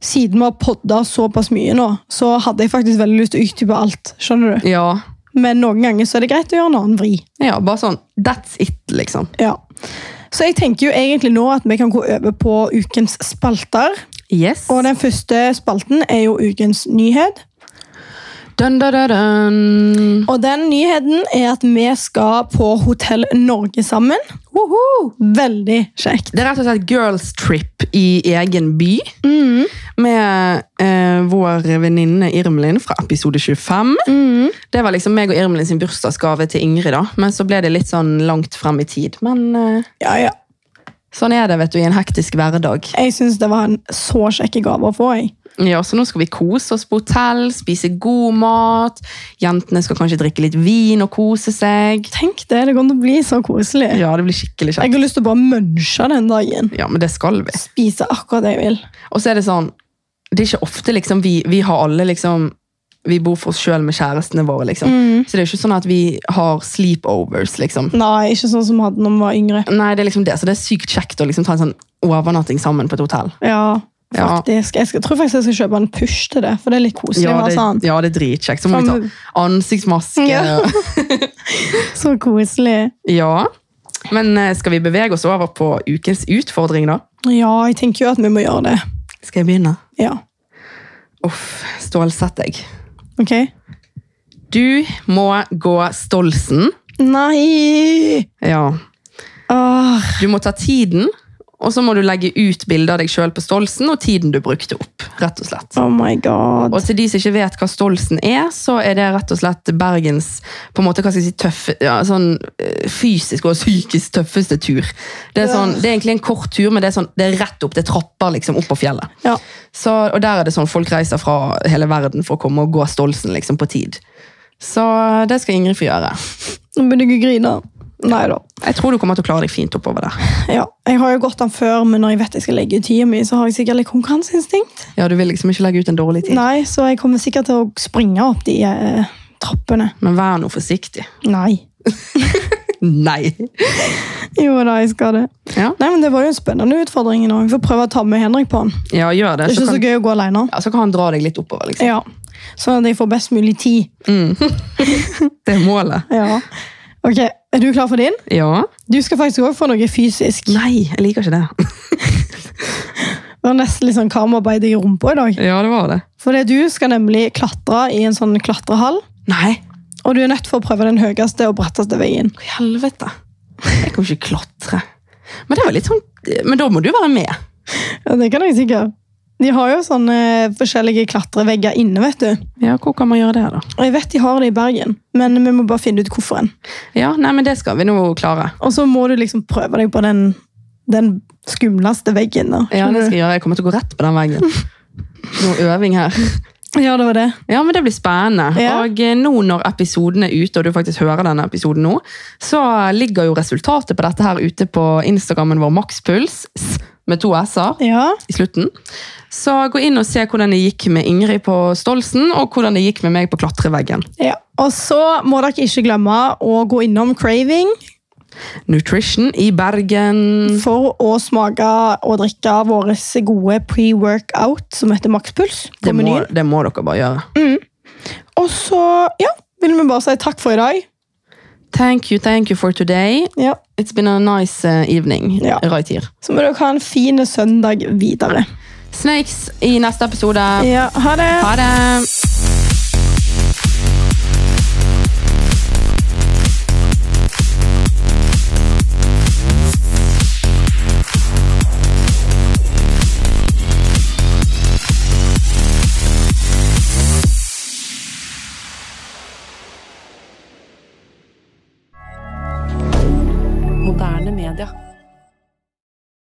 Speaker 1: siden vi har podda såpass mye nå, så hadde jeg faktisk veldig lyst til å utdype alt. skjønner du?
Speaker 2: Ja.
Speaker 1: Men noen ganger så er det greit å gjøre en annen vri.
Speaker 2: ja, bare sånn That's it, liksom.
Speaker 1: Ja. Så jeg tenker jo egentlig nå at vi kan gå over på ukens spalter.
Speaker 2: Yes.
Speaker 1: Og den første spalten er jo ukens nyhet.
Speaker 2: Dun, dun, dun, dun.
Speaker 1: Og den nyheten er at vi skal på Hotell Norge sammen.
Speaker 2: Woho!
Speaker 1: Veldig kjekt.
Speaker 2: Det er rett og slett girls trip i egen by. Mm. Med eh, vår venninne Irmelin fra episode 25. Det var liksom meg og Irmelin sin bursdagsgave til Ingrid, da. Men så ble det litt sånn langt frem i tid. Men eh,
Speaker 1: Ja, ja.
Speaker 2: sånn er det, vet du, i en hektisk hverdag.
Speaker 1: Jeg syns det var en så kjekk gave å få. Jeg.
Speaker 2: Ja, så nå skal vi kose oss på hotell, spise god mat. Jentene skal kanskje drikke litt vin og kose seg.
Speaker 1: Tenk det, det kommer til å bli så koselig.
Speaker 2: Ja, det blir skikkelig
Speaker 1: Jeg
Speaker 2: kjekt.
Speaker 1: har lyst til å bare munche den dagen.
Speaker 2: Ja, men det skal vi.
Speaker 1: Spise akkurat det jeg vil.
Speaker 2: Og så er det sånn Det er ikke ofte liksom vi, vi har alle liksom Vi bor for oss sjøl med kjærestene våre, liksom.
Speaker 1: Mm.
Speaker 2: Så det er jo ikke sånn at vi har sleepovers, liksom.
Speaker 1: Nei, ikke sånn som vi hadde når vi var yngre.
Speaker 2: Nei, det er liksom det, så det er sykt kjekt å liksom ta en sånn overnatting sammen på et hotell.
Speaker 1: Ja,
Speaker 2: Ja.
Speaker 1: faktisk. Jeg skal, tror faktisk jeg skal kjøpe en push til det, for det er litt koselig. å
Speaker 2: Ja,
Speaker 1: ha
Speaker 2: det,
Speaker 1: sånn.
Speaker 2: ja, det er dritkjekt. Så må vi
Speaker 1: Sammen.
Speaker 2: ta ansiktsmaske.
Speaker 1: Ja.
Speaker 2: [LAUGHS] Ja.
Speaker 1: Så koselig.
Speaker 2: Men eh, skal vi bevege oss over på ukens utfordring, da?
Speaker 1: Ja, jeg tenker jo at vi må gjøre det.
Speaker 2: Skal jeg begynne?
Speaker 1: Ja,
Speaker 2: Uff, stålsett deg.
Speaker 1: ok?
Speaker 2: Du må gå Stolsen.
Speaker 1: Nei!
Speaker 2: Ja.
Speaker 1: Åh,
Speaker 2: Du må ta tiden, og så må du legge ut bilder av deg sjøl på Stolsen og tiden du brukte opp. rett og slett.
Speaker 1: oh my god.
Speaker 2: Og til de som ikke vet hva Stolsen er, så er det rett og slett Bergens på en måte, hva skal jeg si, tøffe, ja, sånn eh, fysisk og psykisk tøffeste tur. Det er, sånn, det er egentlig en kort tur, men det er, sånn, det er rett opp. Det er trapper liksom opp på fjellet.
Speaker 1: Ja.
Speaker 2: Så, og der er det sånn folk reiser fra hele verden for å komme og gå Stolsen liksom på tid. Så det skal Ingrid få gjøre.
Speaker 1: Nå begynner jeg å grine. Nei da.
Speaker 2: Jeg tror du kommer til å klare deg fint oppover der.
Speaker 1: Ja, jeg har jo gått den før, men når jeg vet jeg skal legge ut tida mi, så har jeg sikkert litt konkurranseinstinkt.
Speaker 2: Ja, Du vil liksom ikke legge ut en dårlig tid.
Speaker 1: Nei, så jeg kommer sikkert til å springe opp de eh, trappene.
Speaker 2: Men vær nå forsiktig. [LAUGHS]
Speaker 1: Nei.
Speaker 2: Nei.
Speaker 1: Jo da, jeg skal det.
Speaker 2: Ja,
Speaker 1: Nei, men Det var jo en spennende utfordring. nå. Vi får prøve å ta med Henrik på den.
Speaker 2: ja gjør
Speaker 1: Det
Speaker 2: det.
Speaker 1: er
Speaker 2: Så
Speaker 1: ikke så
Speaker 2: kan,
Speaker 1: gøy å gå alene.
Speaker 2: ja, så kan han dra deg litt oppover. liksom.
Speaker 1: Ja. Sånn at jeg får best mulig tid.
Speaker 2: Det er målet.
Speaker 1: Ja. Ok, Er du klar for din?
Speaker 2: Ja.
Speaker 1: Du skal faktisk òg få noe fysisk.
Speaker 2: Nei, jeg liker ikke det.
Speaker 1: Det var nesten litt sånn karmarbeid i rumpa i dag.
Speaker 2: [LAUGHS] Ja, det var det.
Speaker 1: For det du skal nemlig klatre i en sånn klatrehall.
Speaker 2: Nei,
Speaker 1: Og du er nødt for å prøve den høyeste og bratteste veien.
Speaker 2: hva i helvete. Jeg kan ikke klatre. Men det var litt sånn, men da må du være med.
Speaker 1: Ja, Det kan jeg sikkert. De har jo sånne forskjellige klatrevegger inne, vet du.
Speaker 2: Ja, hvor kan man gjøre det da?
Speaker 1: Og jeg vet de har det i Bergen, men vi må bare finne ut hvorfor en.
Speaker 2: Ja, nei, men det skal vi nå klare.
Speaker 1: Og så må du liksom prøve deg på den, den skumleste veggen. Da.
Speaker 2: Ja, det
Speaker 1: Skjønner [LAUGHS]
Speaker 2: skal jeg gjøre. Jeg kommer til å gå rett på den veggen. Noe øving her.
Speaker 1: du? Ja, det var det.
Speaker 2: Ja, men Det blir spennende.
Speaker 1: Ja.
Speaker 2: Og eh, nå når episoden er ute, og du faktisk hører denne episoden nå, så ligger jo resultatet på dette her ute på Instagrammen vår Makspuls s- med to s-er
Speaker 1: Ja.
Speaker 2: i slutten. Så gå inn og se hvordan det gikk med Ingrid på Stolsen, og hvordan det gikk med meg på klatreveggen.
Speaker 1: ja. Og så må dere ikke glemme å gå innom Craving
Speaker 2: Nutrition i Bergen.
Speaker 1: for å smake og drikke våre gode pre-workout som heter Makspuls. på
Speaker 2: Det må,
Speaker 1: menyen.
Speaker 2: det må dere bare gjøre.
Speaker 1: Og så ja, vil vi bare si takk for i dag.
Speaker 2: Thank you, thank you for today.
Speaker 1: Ja.
Speaker 2: It's been a nice eh, evening.
Speaker 1: Ja.
Speaker 2: Raitir.
Speaker 1: Så må dere ha en fin søndag videre.
Speaker 2: Snakes i neste episode.
Speaker 1: Ja, ha det!
Speaker 2: Ha det!
Speaker 3: Moderne media.